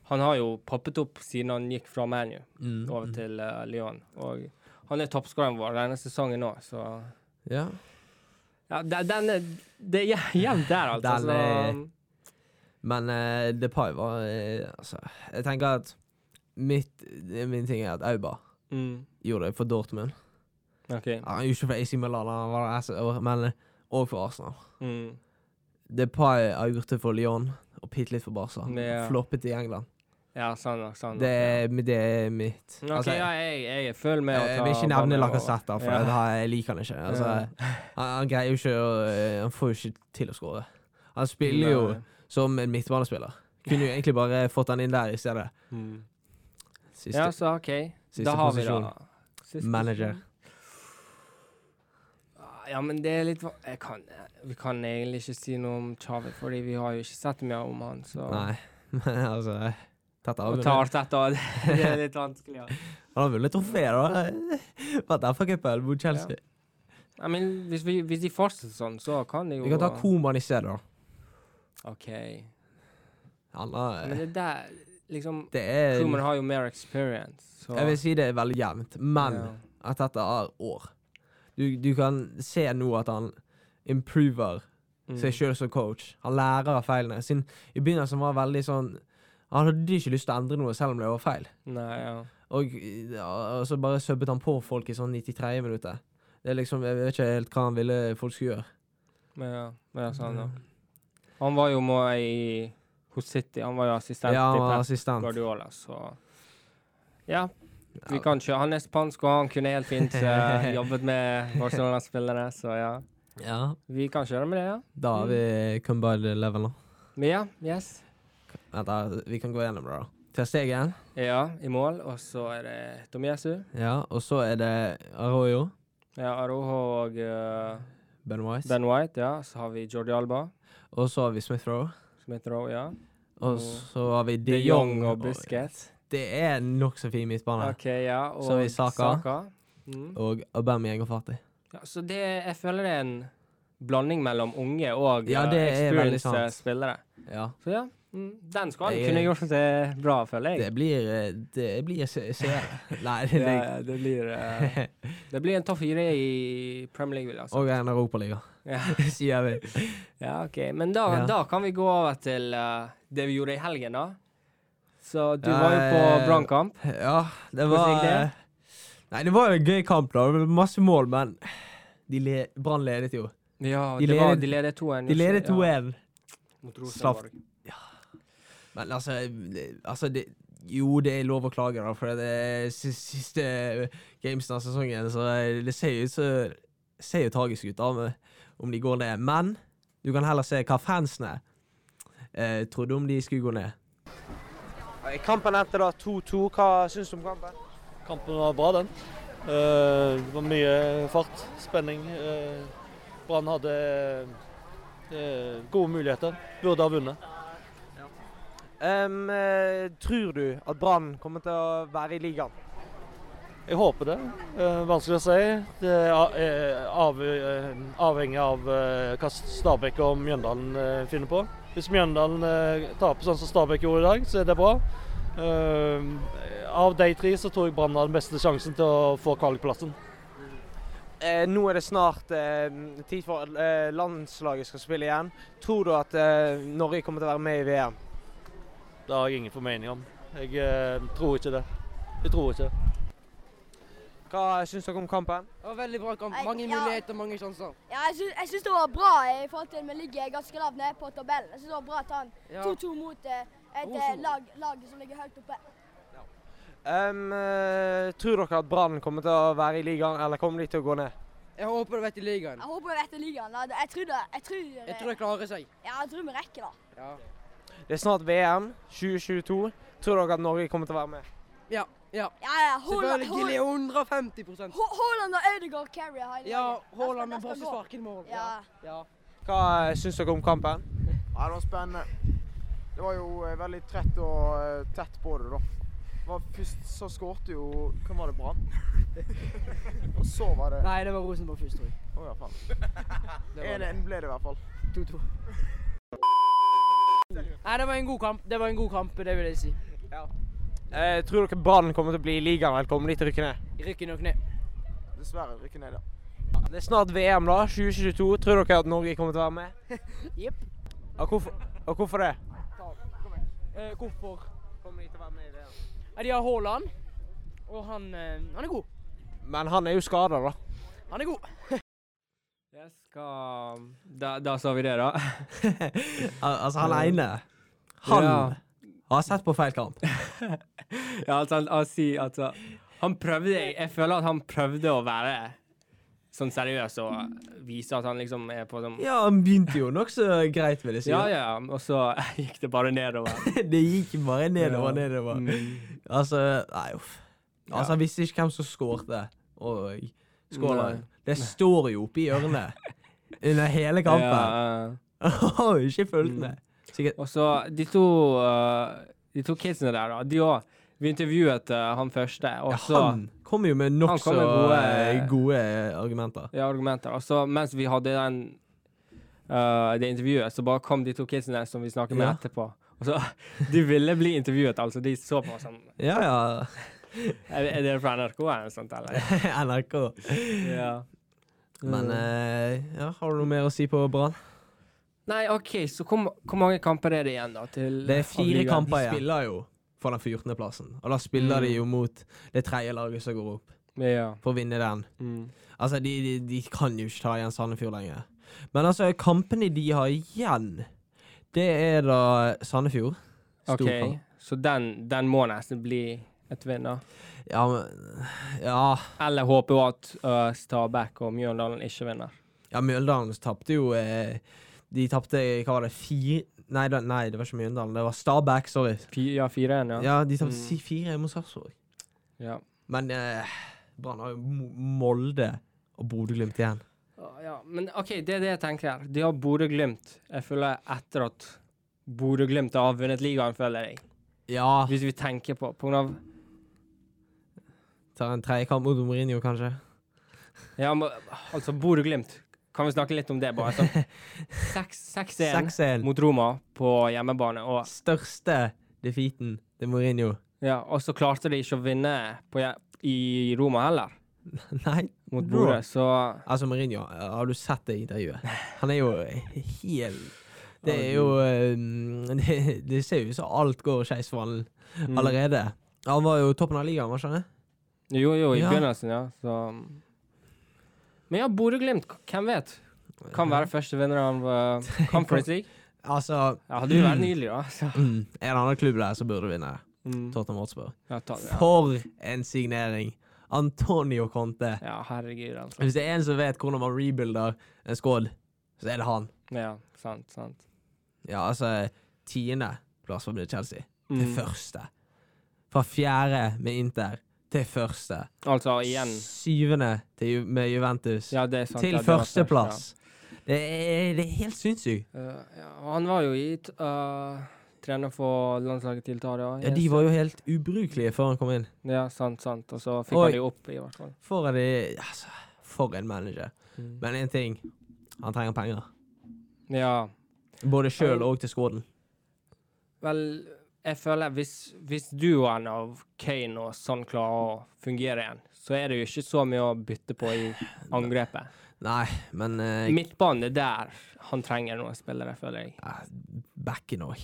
Speaker 2: han har jo poppet opp siden han gikk fra ManU
Speaker 1: Mm,
Speaker 2: over
Speaker 1: mm.
Speaker 2: til eh, Lyon. Og han er toppskåreren vår denne sesongen nå, så
Speaker 1: Ja.
Speaker 2: ja, de- den er, Det er jæ- jevnt der, altså.
Speaker 1: Den er- Men eh, Depay var eh, Altså, jeg tenker at mitt, min ting er at Auba
Speaker 2: så, mm,
Speaker 1: gjorde det for Dortmund.
Speaker 2: OK.
Speaker 1: Ja, Han gjorde ikke for AC Milan, han var der, så- men òg for Arsenal.
Speaker 2: Mm.
Speaker 1: Depay har gjort det for Lyon og bitte litt for Barca.
Speaker 2: Ja.
Speaker 1: Floppet i England.
Speaker 2: Ja, sant nok. Sant nok,
Speaker 1: Det,
Speaker 2: ja.
Speaker 1: er- det er mitt. Altså, eh,
Speaker 2: Ok, ja, jeg, jeg er full med å ta
Speaker 1: Jeg vil ikke nevne
Speaker 2: Aubameyang
Speaker 1: Lacassette, for
Speaker 2: Ja.
Speaker 1: da- jeg liker han ikke. Altså, han, han greier jo ikke å eh, Han får jo ikke til å skåre. Han spiller jo
Speaker 2: Nei.
Speaker 1: som en midtbanespiller. Kunne jo egentlig bare fått han inn der i stedet.
Speaker 2: Mm.
Speaker 1: Siste,
Speaker 2: Ja, så OK.
Speaker 1: siste
Speaker 2: Da har vi
Speaker 1: posisjon.
Speaker 2: da Siste
Speaker 1: Manager.
Speaker 2: posisjon. Ah, Ja, men det er litt va- jeg kan, eh, Vi kan egentlig ikke si noe om Chavi, fordi vi har jo ikke sett mye om han. Så
Speaker 1: Nei, men altså Tatt
Speaker 2: Å
Speaker 1: av.
Speaker 2: ta Arteta det er litt vanskelig. Ja.
Speaker 1: Han har vunnet trofé, da. Vært FA-cupen mot Chelsea.
Speaker 2: Jeg men, hvis, vi, hvis de fortsetter sånn, så kan de jo
Speaker 1: Vi kan ta Koman i stedet, da.
Speaker 2: OK.
Speaker 1: Han
Speaker 2: Men
Speaker 1: har
Speaker 2: det der liksom
Speaker 1: Det er
Speaker 2: Truman har jo mer experience, så
Speaker 1: Eh, Jeg vil si det er veldig jevnt, men
Speaker 2: Ja.
Speaker 1: at dette er år. Du, du kan se nå at han improver
Speaker 2: Mm.
Speaker 1: seg sjøl som coach. Han lærer av feilene. Siden I begynnelsen var han veldig sånn Han hadde ikke lyst til å endre noe selv om det var feil.
Speaker 2: Mm. Nei, ja.
Speaker 1: Og, ja, og så bare subbet han på folk i sånn 93 minutter. Det er liksom, Jeg vet ikke helt hva han ville folk skulle gjøre. Mm.
Speaker 2: Men ja, men ja, sånn da. Han var jo med i hos City. Han var jo assistent
Speaker 1: Ja, han var
Speaker 2: til Pep
Speaker 1: assistent.
Speaker 2: Guardiola, så Ja. Vi kan ikke. Han er spansk, og han kunne helt fint eh, jobbet med Barcelona-spillere, så ja.
Speaker 1: Ja,
Speaker 2: Vi kan kjøre med det, ja.
Speaker 1: Da har vi
Speaker 2: Mm.
Speaker 1: come by the level, da.
Speaker 2: Men ja, yes.
Speaker 1: Vent, da, vi kan gå gjennom det, da. Til stegen.
Speaker 2: Ja, i mål. Og så er det Tomiesu.
Speaker 1: Ja, og så er det Arroyo.
Speaker 2: Ja, Aroho og eh,
Speaker 1: Ben Wise.
Speaker 2: Ben White, ja. Så har vi Jordi Alba.
Speaker 1: Og så har vi Smith Rowe.
Speaker 2: Smith Rowe, ja.
Speaker 1: Og
Speaker 2: Og
Speaker 1: så har vi
Speaker 2: Mm. De Jong og
Speaker 1: Busquets.
Speaker 2: Busquets.
Speaker 1: Det er en nokså fin midtbane.
Speaker 2: OK, ja. Og
Speaker 1: Så har vi Saka.
Speaker 2: Mm.
Speaker 1: Og Aubameyang og Fatih.
Speaker 2: Ja, så det, jeg føler det er en blanding mellom unge og
Speaker 1: Ja,
Speaker 2: eh,
Speaker 1: det er veldig
Speaker 2: experienced
Speaker 1: sant.
Speaker 2: eh, spillere.
Speaker 1: Ja.
Speaker 2: Så ja, mm, den skal han
Speaker 1: Jeg-
Speaker 2: kunne gjort det bra, føler jeg.
Speaker 1: Det blir eh, Det blir se- seere. Nei, det
Speaker 2: ja,
Speaker 1: er
Speaker 2: ja, det, blir, eh, det blir en topp fire i Premier League, vil jeg si.
Speaker 1: Og en europaliga,
Speaker 2: Ja,
Speaker 1: sier vi.
Speaker 2: ja, OK. Men da,
Speaker 1: Ja.
Speaker 2: da kan vi gå over til eh, det vi gjorde i helgen, da. Så du
Speaker 1: Ja,
Speaker 2: var jo på
Speaker 1: eh,
Speaker 2: brannkamp.
Speaker 1: Ja, det
Speaker 2: Hvordan
Speaker 1: var
Speaker 2: gikk det?
Speaker 1: eh, Nei, det var jo en gøy kamp, da. Det ble masse mål, men de le, Brann ledet jo.
Speaker 2: Ja,
Speaker 1: de
Speaker 2: det var,
Speaker 1: ledet-
Speaker 2: de ledet 2-1.
Speaker 1: De ledet 2-1.
Speaker 2: mot Rosenborg.
Speaker 1: Men altså, det- altså det, Jo, det er lov å klage, da, for det er si- siste gamesen av sesongen, så det ser jo ut så ser jo tragisk ut da, med- om de går ned. Men du kan heller se hva fansene eh, trodde om de skulle gå ned.
Speaker 3: Kampen endte da 2-2. Hva syns du om kampen?
Speaker 4: Kampen var bra, den. Eh, Det var mye fart, spenning. Eh, Brann hadde eh, gode muligheter. Burde ha vunnet.
Speaker 3: eh, tror du at Brann kommer til å være i ligaen?
Speaker 4: Jeg håper det. Eh, vanskelig å si. Det er a- eh, av, eh, avhengig av eh, hva Stabæk og Mjøndalen eh, finner på. Hvis Mjøndalen eh, taper sånn som Stabæk gjorde i dag, så er det bra. Eh, av de tre så tror jeg Brann har den beste sjansen til å få kvalikplassen.
Speaker 3: Eh, nå er det snart eh, tid for at eh, landslaget skal spille igjen. Tror du at eh, Norge kommer til å være med i VM?
Speaker 4: Det har jeg ingen formening om. Jeg eh, tror ikke det. Jeg tror ikke det.
Speaker 3: Hva syns dere om kampen?
Speaker 5: Det var veldig bra kamp.
Speaker 6: Nei,
Speaker 5: Sånn, Mange
Speaker 6: ja.
Speaker 5: muligheter, mange sjanser.
Speaker 6: Ja, jeg syns, jeg syns det var bra eh, i forhold til at vi ligger ganske lavt nede på tabellen. Jeg syns det var bra å ta en
Speaker 5: Ja.
Speaker 6: 2-2 mot eh, et eh,
Speaker 5: Rosenborg.
Speaker 6: lag, lag som ligger høyt oppe.
Speaker 3: Em, eh, tror dere at Brann kommer til å være i ligaen, eller kommer de til å gå ned?
Speaker 5: Jeg håper det vet i ligaen.
Speaker 6: Jeg håper vi etter ligaen. da. Jeg tror det. Jeg tror, eh,
Speaker 5: Jeg tror det klarer seg.
Speaker 6: ja, jeg tror vi rekker det.
Speaker 5: Ja.
Speaker 3: Det er snart VM 2022. Tror dere at Norge kommer til å være med?
Speaker 5: Ja. ja.
Speaker 6: Ja, ja. Haaland-
Speaker 5: Selvfølgelig
Speaker 6: Haaland-
Speaker 5: 150
Speaker 6: Ha- Haaland og Ødegaard carry har jeg
Speaker 5: Ja,
Speaker 6: laget.
Speaker 5: Haaland
Speaker 6: Da
Speaker 5: med
Speaker 6: skal- da skal gå.
Speaker 5: brassespark i mål.
Speaker 6: Ja.
Speaker 5: ja.
Speaker 3: Hva eh, syns dere om kampen?
Speaker 7: Ja, det var spennende. Det var jo eh, veldig trett og eh, tett på det, da. Det Var først så skårte jo Hvem var det? Brann? og så var det Å
Speaker 5: Nei, det var Rosenborg først, tror jeg.
Speaker 7: ja, faen.
Speaker 5: Det var det.
Speaker 7: 1-1 ble det i hvert fall.
Speaker 5: 2-2. Nei, det var en god kamp. Det var en god kamp, det vil jeg si.
Speaker 3: Eh, tror dere Brann kommer til å bli i ligaen, eller kommer de til å rykke ned?
Speaker 5: Rykker nok ned.
Speaker 7: Dessverre rykker ned, ja.
Speaker 3: Det er snart VM, da. 2022. Tror dere at Norge kommer til å være med?
Speaker 5: Jepp.
Speaker 3: Og hvorfor, og hvorfor det?
Speaker 5: Eh, hvorfor?
Speaker 3: Kommer de til å være med i VM?
Speaker 5: Ja, de har Haaland, og han, eh, han er god.
Speaker 3: Men han er jo skada, da.
Speaker 5: Han er god.
Speaker 2: Jeg skal Da, da sa vi det, da.
Speaker 1: Al altså, han ene Han
Speaker 2: Eh, Ja.
Speaker 1: har sett på feil kamp.
Speaker 2: Ja, altså, han, han, sier, altså, han prøvde Jeg føler at han prøvde å være sånn seriøs og vise at han liksom er på sånn
Speaker 1: Ja, han begynte jo nokså greit, vil jeg si.
Speaker 2: Ja, ja, ja. Og så gikk det bare nedover.
Speaker 1: Det gikk bare nedover,
Speaker 2: Ja.
Speaker 1: nedover.
Speaker 2: Mm.
Speaker 1: Altså, nei, uff. Altså, han visste ikke hvem som skårte. Og Skåland.
Speaker 2: Nei.
Speaker 1: Det står jo oppe i ørene under hele kampen.
Speaker 2: Ja, ja.
Speaker 1: Har jo ikke fulgt med. Sikkert.
Speaker 2: Og så de to eh, De to kidsene der, da. De òg. Vi intervjuet eh, han første, og
Speaker 1: Ja,
Speaker 2: så
Speaker 1: han kom jo med
Speaker 2: Han
Speaker 1: nokså
Speaker 2: kom med gode-
Speaker 1: gode, gode argumenter.
Speaker 2: ja, argumenter. Og så mens vi hadde den eh, det intervjuet, så bare kom de to kidsene som vi snakker med
Speaker 1: Ja.
Speaker 2: etterpå. Og så, De ville bli intervjuet, altså. De så på oss sånn
Speaker 1: Ja, ja.
Speaker 2: Er, er dere fra NRK eller noe sånt, eller?
Speaker 1: NRK.
Speaker 2: ja.
Speaker 1: Men eh, ja, har du noe mer å si på Brann?
Speaker 2: Nei, OK, så hvor, hvor mange kamper er det igjen, da? Til
Speaker 1: Det er
Speaker 2: av
Speaker 1: fire
Speaker 2: ligaen?
Speaker 1: kamper igjen. Mm. De spiller jo for den 14. plassen. Og da spiller de jo mot det tredje laget som går opp,
Speaker 2: Ja.
Speaker 1: for å vinne den.
Speaker 2: Mm.
Speaker 1: Altså, de, de, de kan jo ikke ta igjen Sandefjord lenger. Men altså, kampene de har igjen, det er da Sandefjord. Stor
Speaker 2: OK,
Speaker 1: kamp.
Speaker 2: så den, den må nesten bli et vinner.
Speaker 1: Ja, men, ja,
Speaker 2: Eller håper jo at øh, Stabæk og Mjøndalen ikke vinner.
Speaker 1: ja Mjøndalen tapte jo eh, De tapte, hva var det, fire Nei, da, nei, det var ikke Mjøndalen. Det var Stabæk, sorry.
Speaker 2: Fi- ja, 4-1, ja.
Speaker 1: Ja, de tapte
Speaker 2: Mm.
Speaker 1: fire mot Sarpsborg.
Speaker 2: Ja.
Speaker 1: Men eh, Brann har jo Mo- Molde og Bodø-Glimt igjen.
Speaker 2: Å, ja. Men OK, det er det jeg tenker her. De har Bodø-Glimt. Jeg føler etter at Bodø-Glimt har vunnet ligaen, føler jeg.
Speaker 1: Ja.
Speaker 2: Hvis vi tenker på på grunn av
Speaker 1: Tar en tredje kamp mot Mourinho, kanskje.
Speaker 2: Ja, men, altså, Bodø-Glimt. Kan vi snakke litt om det, bare? Sånn. Seks- 6-1
Speaker 1: 6-1.
Speaker 2: mot Roma på hjemmebane, og,
Speaker 1: Største defeaten til Mourinho.
Speaker 2: ja, og så klarte de ikke å vinne på, hje- i Roma heller,
Speaker 1: Nei,
Speaker 2: mot
Speaker 1: Bra.
Speaker 2: Bodø, så
Speaker 1: Altså, Mourinho, har du sett det intervjuet? Han er jo helt Det er jo eh, Det, det ser jo ut som alt går skeis for han
Speaker 2: mm.
Speaker 1: allerede. Han var jo toppen av ligaen, var ikke han det?
Speaker 2: Jo, jo, i
Speaker 1: Ja.
Speaker 2: begynnelsen, ja. Så. Men ja, Bodø-Glimt, k- hvem vet? Kan være første vinner av eh, Conference League.
Speaker 1: Altså,
Speaker 2: Ja, hadde jo vært nydelig, da. Så.
Speaker 1: mm, en annen klubb der som burde vinne.
Speaker 2: Mm.
Speaker 1: Tottenham Hotspur.
Speaker 2: Ja, ta, det, ja.
Speaker 1: For en signering! Antonio Conte.
Speaker 2: ja, herregud, altså.
Speaker 1: Hvis det er en som vet hvordan man rebuilder en squad, så er det han.
Speaker 2: Ja, sant, sant.
Speaker 1: Ja, altså Tiende plass for Chelsea. Til
Speaker 2: Mm.
Speaker 1: første. Fra fjerde med Inter til første.
Speaker 2: Altså, igjen.
Speaker 1: Syvende til Ju med Juventus.
Speaker 2: Ja, det er sant.
Speaker 1: til
Speaker 2: ja, det var først,
Speaker 1: førsteplass. Det, er- det er helt sinnssykt.
Speaker 2: Ja. Eh, ja, han var jo i t- eh, trener for landslaget til Italia.
Speaker 1: Ja, de var jo helt ubrukelige før han kom inn.
Speaker 2: Ja, sant, sant. Og så fikk
Speaker 1: Oi.
Speaker 2: han de opp, i hvert fall.
Speaker 1: For, de, altså, for en manager.
Speaker 2: Mm.
Speaker 1: Men én ting. Han trenger penger.
Speaker 2: Ja.
Speaker 1: Både sjøl og til skåden.
Speaker 2: Vel, jeg føler hvis, hvis duoen av Kane og sånn klarer å fungere igjen, så er det jo ikke så mye å bytte på i angrepet.
Speaker 1: Nei, men eh,
Speaker 2: Midtbanen er der han trenger noen spillere, føler jeg.
Speaker 1: ja, Backen òg.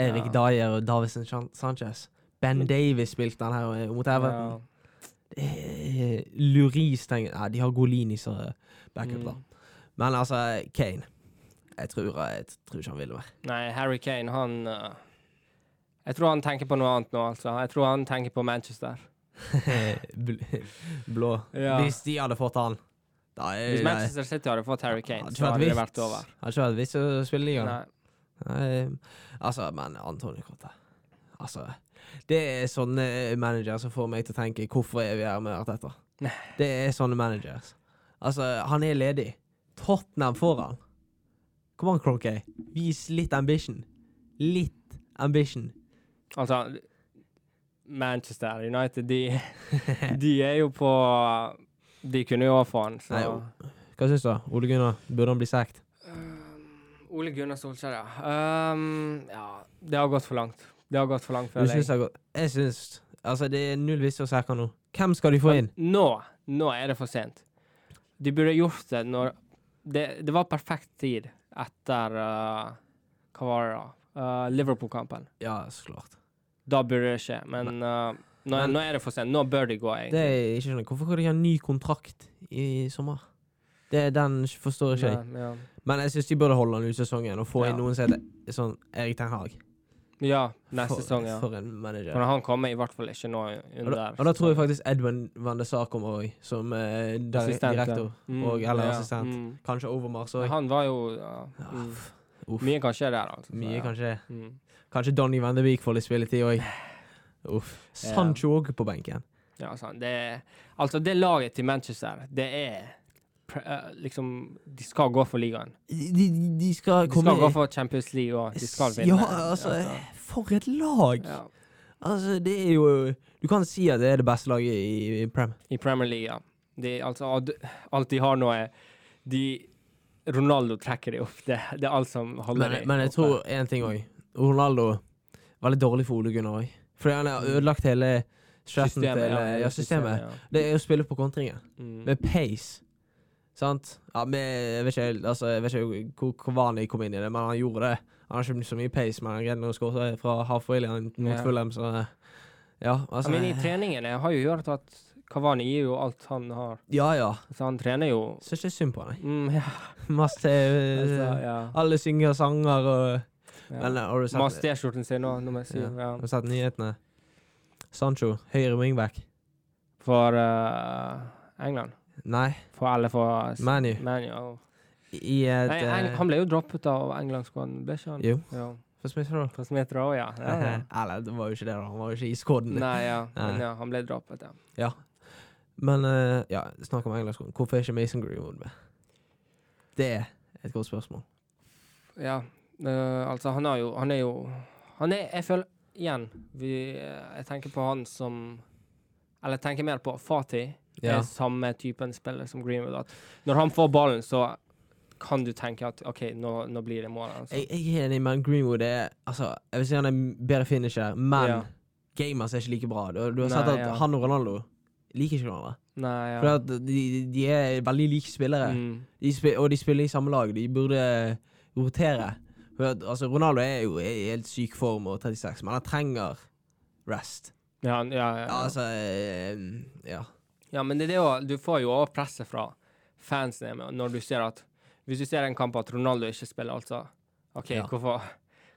Speaker 1: Erik
Speaker 2: Ja.
Speaker 1: Dyer og Davison Chan- Sanchez. Ben Davies spilte han her eh, mot Everton. Eh, Luris trenger Nei, de har Golini som eh, backup, da.
Speaker 2: Mm.
Speaker 1: Men altså, Kane Jeg tror, jeg tror ikke han vil mer.
Speaker 2: Nei, Harry Kane, han eh, Jeg tror han tenker på noe annet nå, altså. Jeg tror han tenker på Manchester.
Speaker 1: Bl- Blå.
Speaker 2: Ja.
Speaker 1: Hvis de hadde fått han da er
Speaker 2: Hvis
Speaker 1: Eh, nei.
Speaker 2: Manchester City hadde fått Harry Kane,
Speaker 1: Hadde ikke
Speaker 2: så
Speaker 1: vært
Speaker 2: hadde det
Speaker 1: vits.
Speaker 2: vært over.
Speaker 1: Hadde ikke vært vits å spille ligaen.
Speaker 2: Nei.
Speaker 1: Nei, altså, men Antonio Conte Altså, det er sånne managere som får meg til å tenke 'hvorfor er vi her med Arteta'? Det er sånne managers. Altså, han er ledig. Tottenham foran. Kom an, Cronky. Vis litt ambition. Litt ambition.
Speaker 2: Altså, Manchester United, de, de er jo på De kunne jo ha få han, så
Speaker 1: Nei, jo. Hva syns du? Ole Gunnar, burde han bli sekt?
Speaker 2: Um, Ole Gunnar Solskjær, ja. Um, ja. Det har gått for langt. Det har gått for langt,
Speaker 1: Du
Speaker 2: føler
Speaker 1: syns det
Speaker 2: jeg.
Speaker 1: er godt? Jeg syns Altså, det er null vits å sekke han nå. Hvem skal de få inn?
Speaker 2: Nå, nå er det for sent. De burde gjort det når Det, det var perfekt tid etter uh, Hva var det da? Uh, Liverpool-kampen.
Speaker 1: Ja, så klart.
Speaker 2: Da burde det skje, men uh, nå,
Speaker 1: Men-
Speaker 2: nå er det for sent. Nå bør de gå,
Speaker 1: Det
Speaker 2: egentlig.
Speaker 1: er jeg ikke skjønner. Hvorfor kan de ha ny kontrakt i sommer? Det, den forstår ikke jeg.
Speaker 2: ja,
Speaker 1: Men jeg syns de burde holde den ut sesongen og få
Speaker 2: Ja.
Speaker 1: inn noen som heter sånn Erik Ten Hag.
Speaker 2: ja. ja, neste
Speaker 1: for,
Speaker 2: sesong, ja.
Speaker 1: For en manager.
Speaker 2: Men han kommer i hvert fall ikke nå
Speaker 1: Og da,
Speaker 2: under
Speaker 1: og da tror jeg faktisk Edwin Van de Sar kommer òg, som eh, di-
Speaker 2: Assistent, ja.
Speaker 1: direktor.
Speaker 2: Mm,
Speaker 1: og- eller
Speaker 2: ja,
Speaker 1: assistent.
Speaker 2: mm.
Speaker 1: Kanskje Overmars òg.
Speaker 2: Han var jo ja,
Speaker 1: Ja,
Speaker 2: mm.
Speaker 1: uff.
Speaker 2: Mye kan skje der, altså. så
Speaker 1: Mye,
Speaker 2: ja.
Speaker 1: kanskje.
Speaker 2: Mm.
Speaker 1: Kanskje Donny Van de Beek får litt spilletid òg. Uff. Sancho òg på benken.
Speaker 2: Ja, sant. Det, altså, det laget til Manchester, det er pr- eh, liksom De skal gå for ligaen.
Speaker 1: De, de, de skal
Speaker 2: De
Speaker 1: komme
Speaker 2: skal gå for Champions League, og de skal vinne.
Speaker 1: Ja, altså, For et lag!
Speaker 2: ja.
Speaker 1: Altså, det er jo Du kan si at det er det beste laget i, i Prem.
Speaker 2: I Premier League, ja. De, altså, ad- alt de har nå, er de Ronaldo trekker de opp. Det, det er alt som holder
Speaker 1: Men,
Speaker 2: de
Speaker 1: men jeg
Speaker 2: oppe.
Speaker 1: tror én ting òg. Ronaldo var litt dårlig for Ole Gunnar òg. Fordi han har ødelagt hele stressen til eh,
Speaker 2: ja,
Speaker 1: ja, systemet.
Speaker 2: ja.
Speaker 1: Det er å spille på kontringer.
Speaker 2: Mm.
Speaker 1: Med pace. Sant? Ja, med, jeg vet ikke, helt, altså, jeg vet ikke hvor Kavani kom inn i det, men han gjorde det. Han har ikke mye- så mye pace, men han greide å skåre fra half-wheeleren mot
Speaker 2: Ja.
Speaker 1: Fulham, så Ja, altså
Speaker 2: Men i treningen jeg har jo hørt at Kavani gir jo alt han har.
Speaker 1: Ja, ja.
Speaker 2: Så han trener jo
Speaker 1: Syns ikke synd på han. jeg.
Speaker 2: mm, ja,
Speaker 1: Masse eh,
Speaker 2: altså, ja,
Speaker 1: Alle synger sanger og
Speaker 2: ja.
Speaker 1: Men har du sett
Speaker 2: Må ha T-skjorten sin nå, nummer syv. Ja.
Speaker 1: Har du sett nyhetene? Sancho, høyre wingback.
Speaker 2: For eh, England.
Speaker 1: Nei,
Speaker 2: For alle for s-
Speaker 1: ManU.
Speaker 2: Man, ja.
Speaker 1: I et
Speaker 2: Altså, Nei, Eng
Speaker 1: eh,
Speaker 2: han ble jo droppet av England-skåden, ble ikke han?
Speaker 1: Jo.
Speaker 2: Ja.
Speaker 1: For Smith Rowe.
Speaker 2: For Smith Rowe, ja. ja, ja.
Speaker 1: Eller, det var jo ikke det, da. Han var jo ikke i skåden.
Speaker 2: Nei, ja.
Speaker 1: Nei.
Speaker 2: Men, ja. Han ble droppet, ja.
Speaker 1: Men eh, ja, snakk om engelskskolen. Hvorfor er ikke Mason Greenwood med? Det er et godt spørsmål.
Speaker 2: Ja, eh, altså han er jo Han er jo han er, Jeg føler Igjen, vi, eh, jeg tenker på han som Eller jeg tenker mer på Fatih.
Speaker 1: Ja.
Speaker 2: Er samme typen spiller som Greenwood. At når han får ballen, så kan du tenke at OK, nå, nå blir det mål. Altså.
Speaker 1: Jeg, jeg er enig, men Greenwood er Altså, jeg vil si han er en bedre finisher, men
Speaker 2: Ja.
Speaker 1: gamers er ikke like bra. Du, du har
Speaker 2: Nei,
Speaker 1: sett at
Speaker 2: ja.
Speaker 1: han og Ronaldo liker ikke hverandre.
Speaker 2: Nei, ja.
Speaker 1: Fordi at de, de er veldig like spillere.
Speaker 2: Mm.
Speaker 1: De spi- og de spiller i samme lag. De burde rotere. For at- Altså, Ronaldo er jo i helt syk form og 36, men han trenger rest.
Speaker 2: Ja, han- ja, ja,
Speaker 1: Ja,
Speaker 2: ja.
Speaker 1: altså eh, Ja.
Speaker 2: ja, men det er det jo Du får jo også presset fra fansen med- når du ser at Hvis du ser en kamp at Ronaldo ikke spiller, altså OK,
Speaker 1: Ja.
Speaker 2: hvorfor,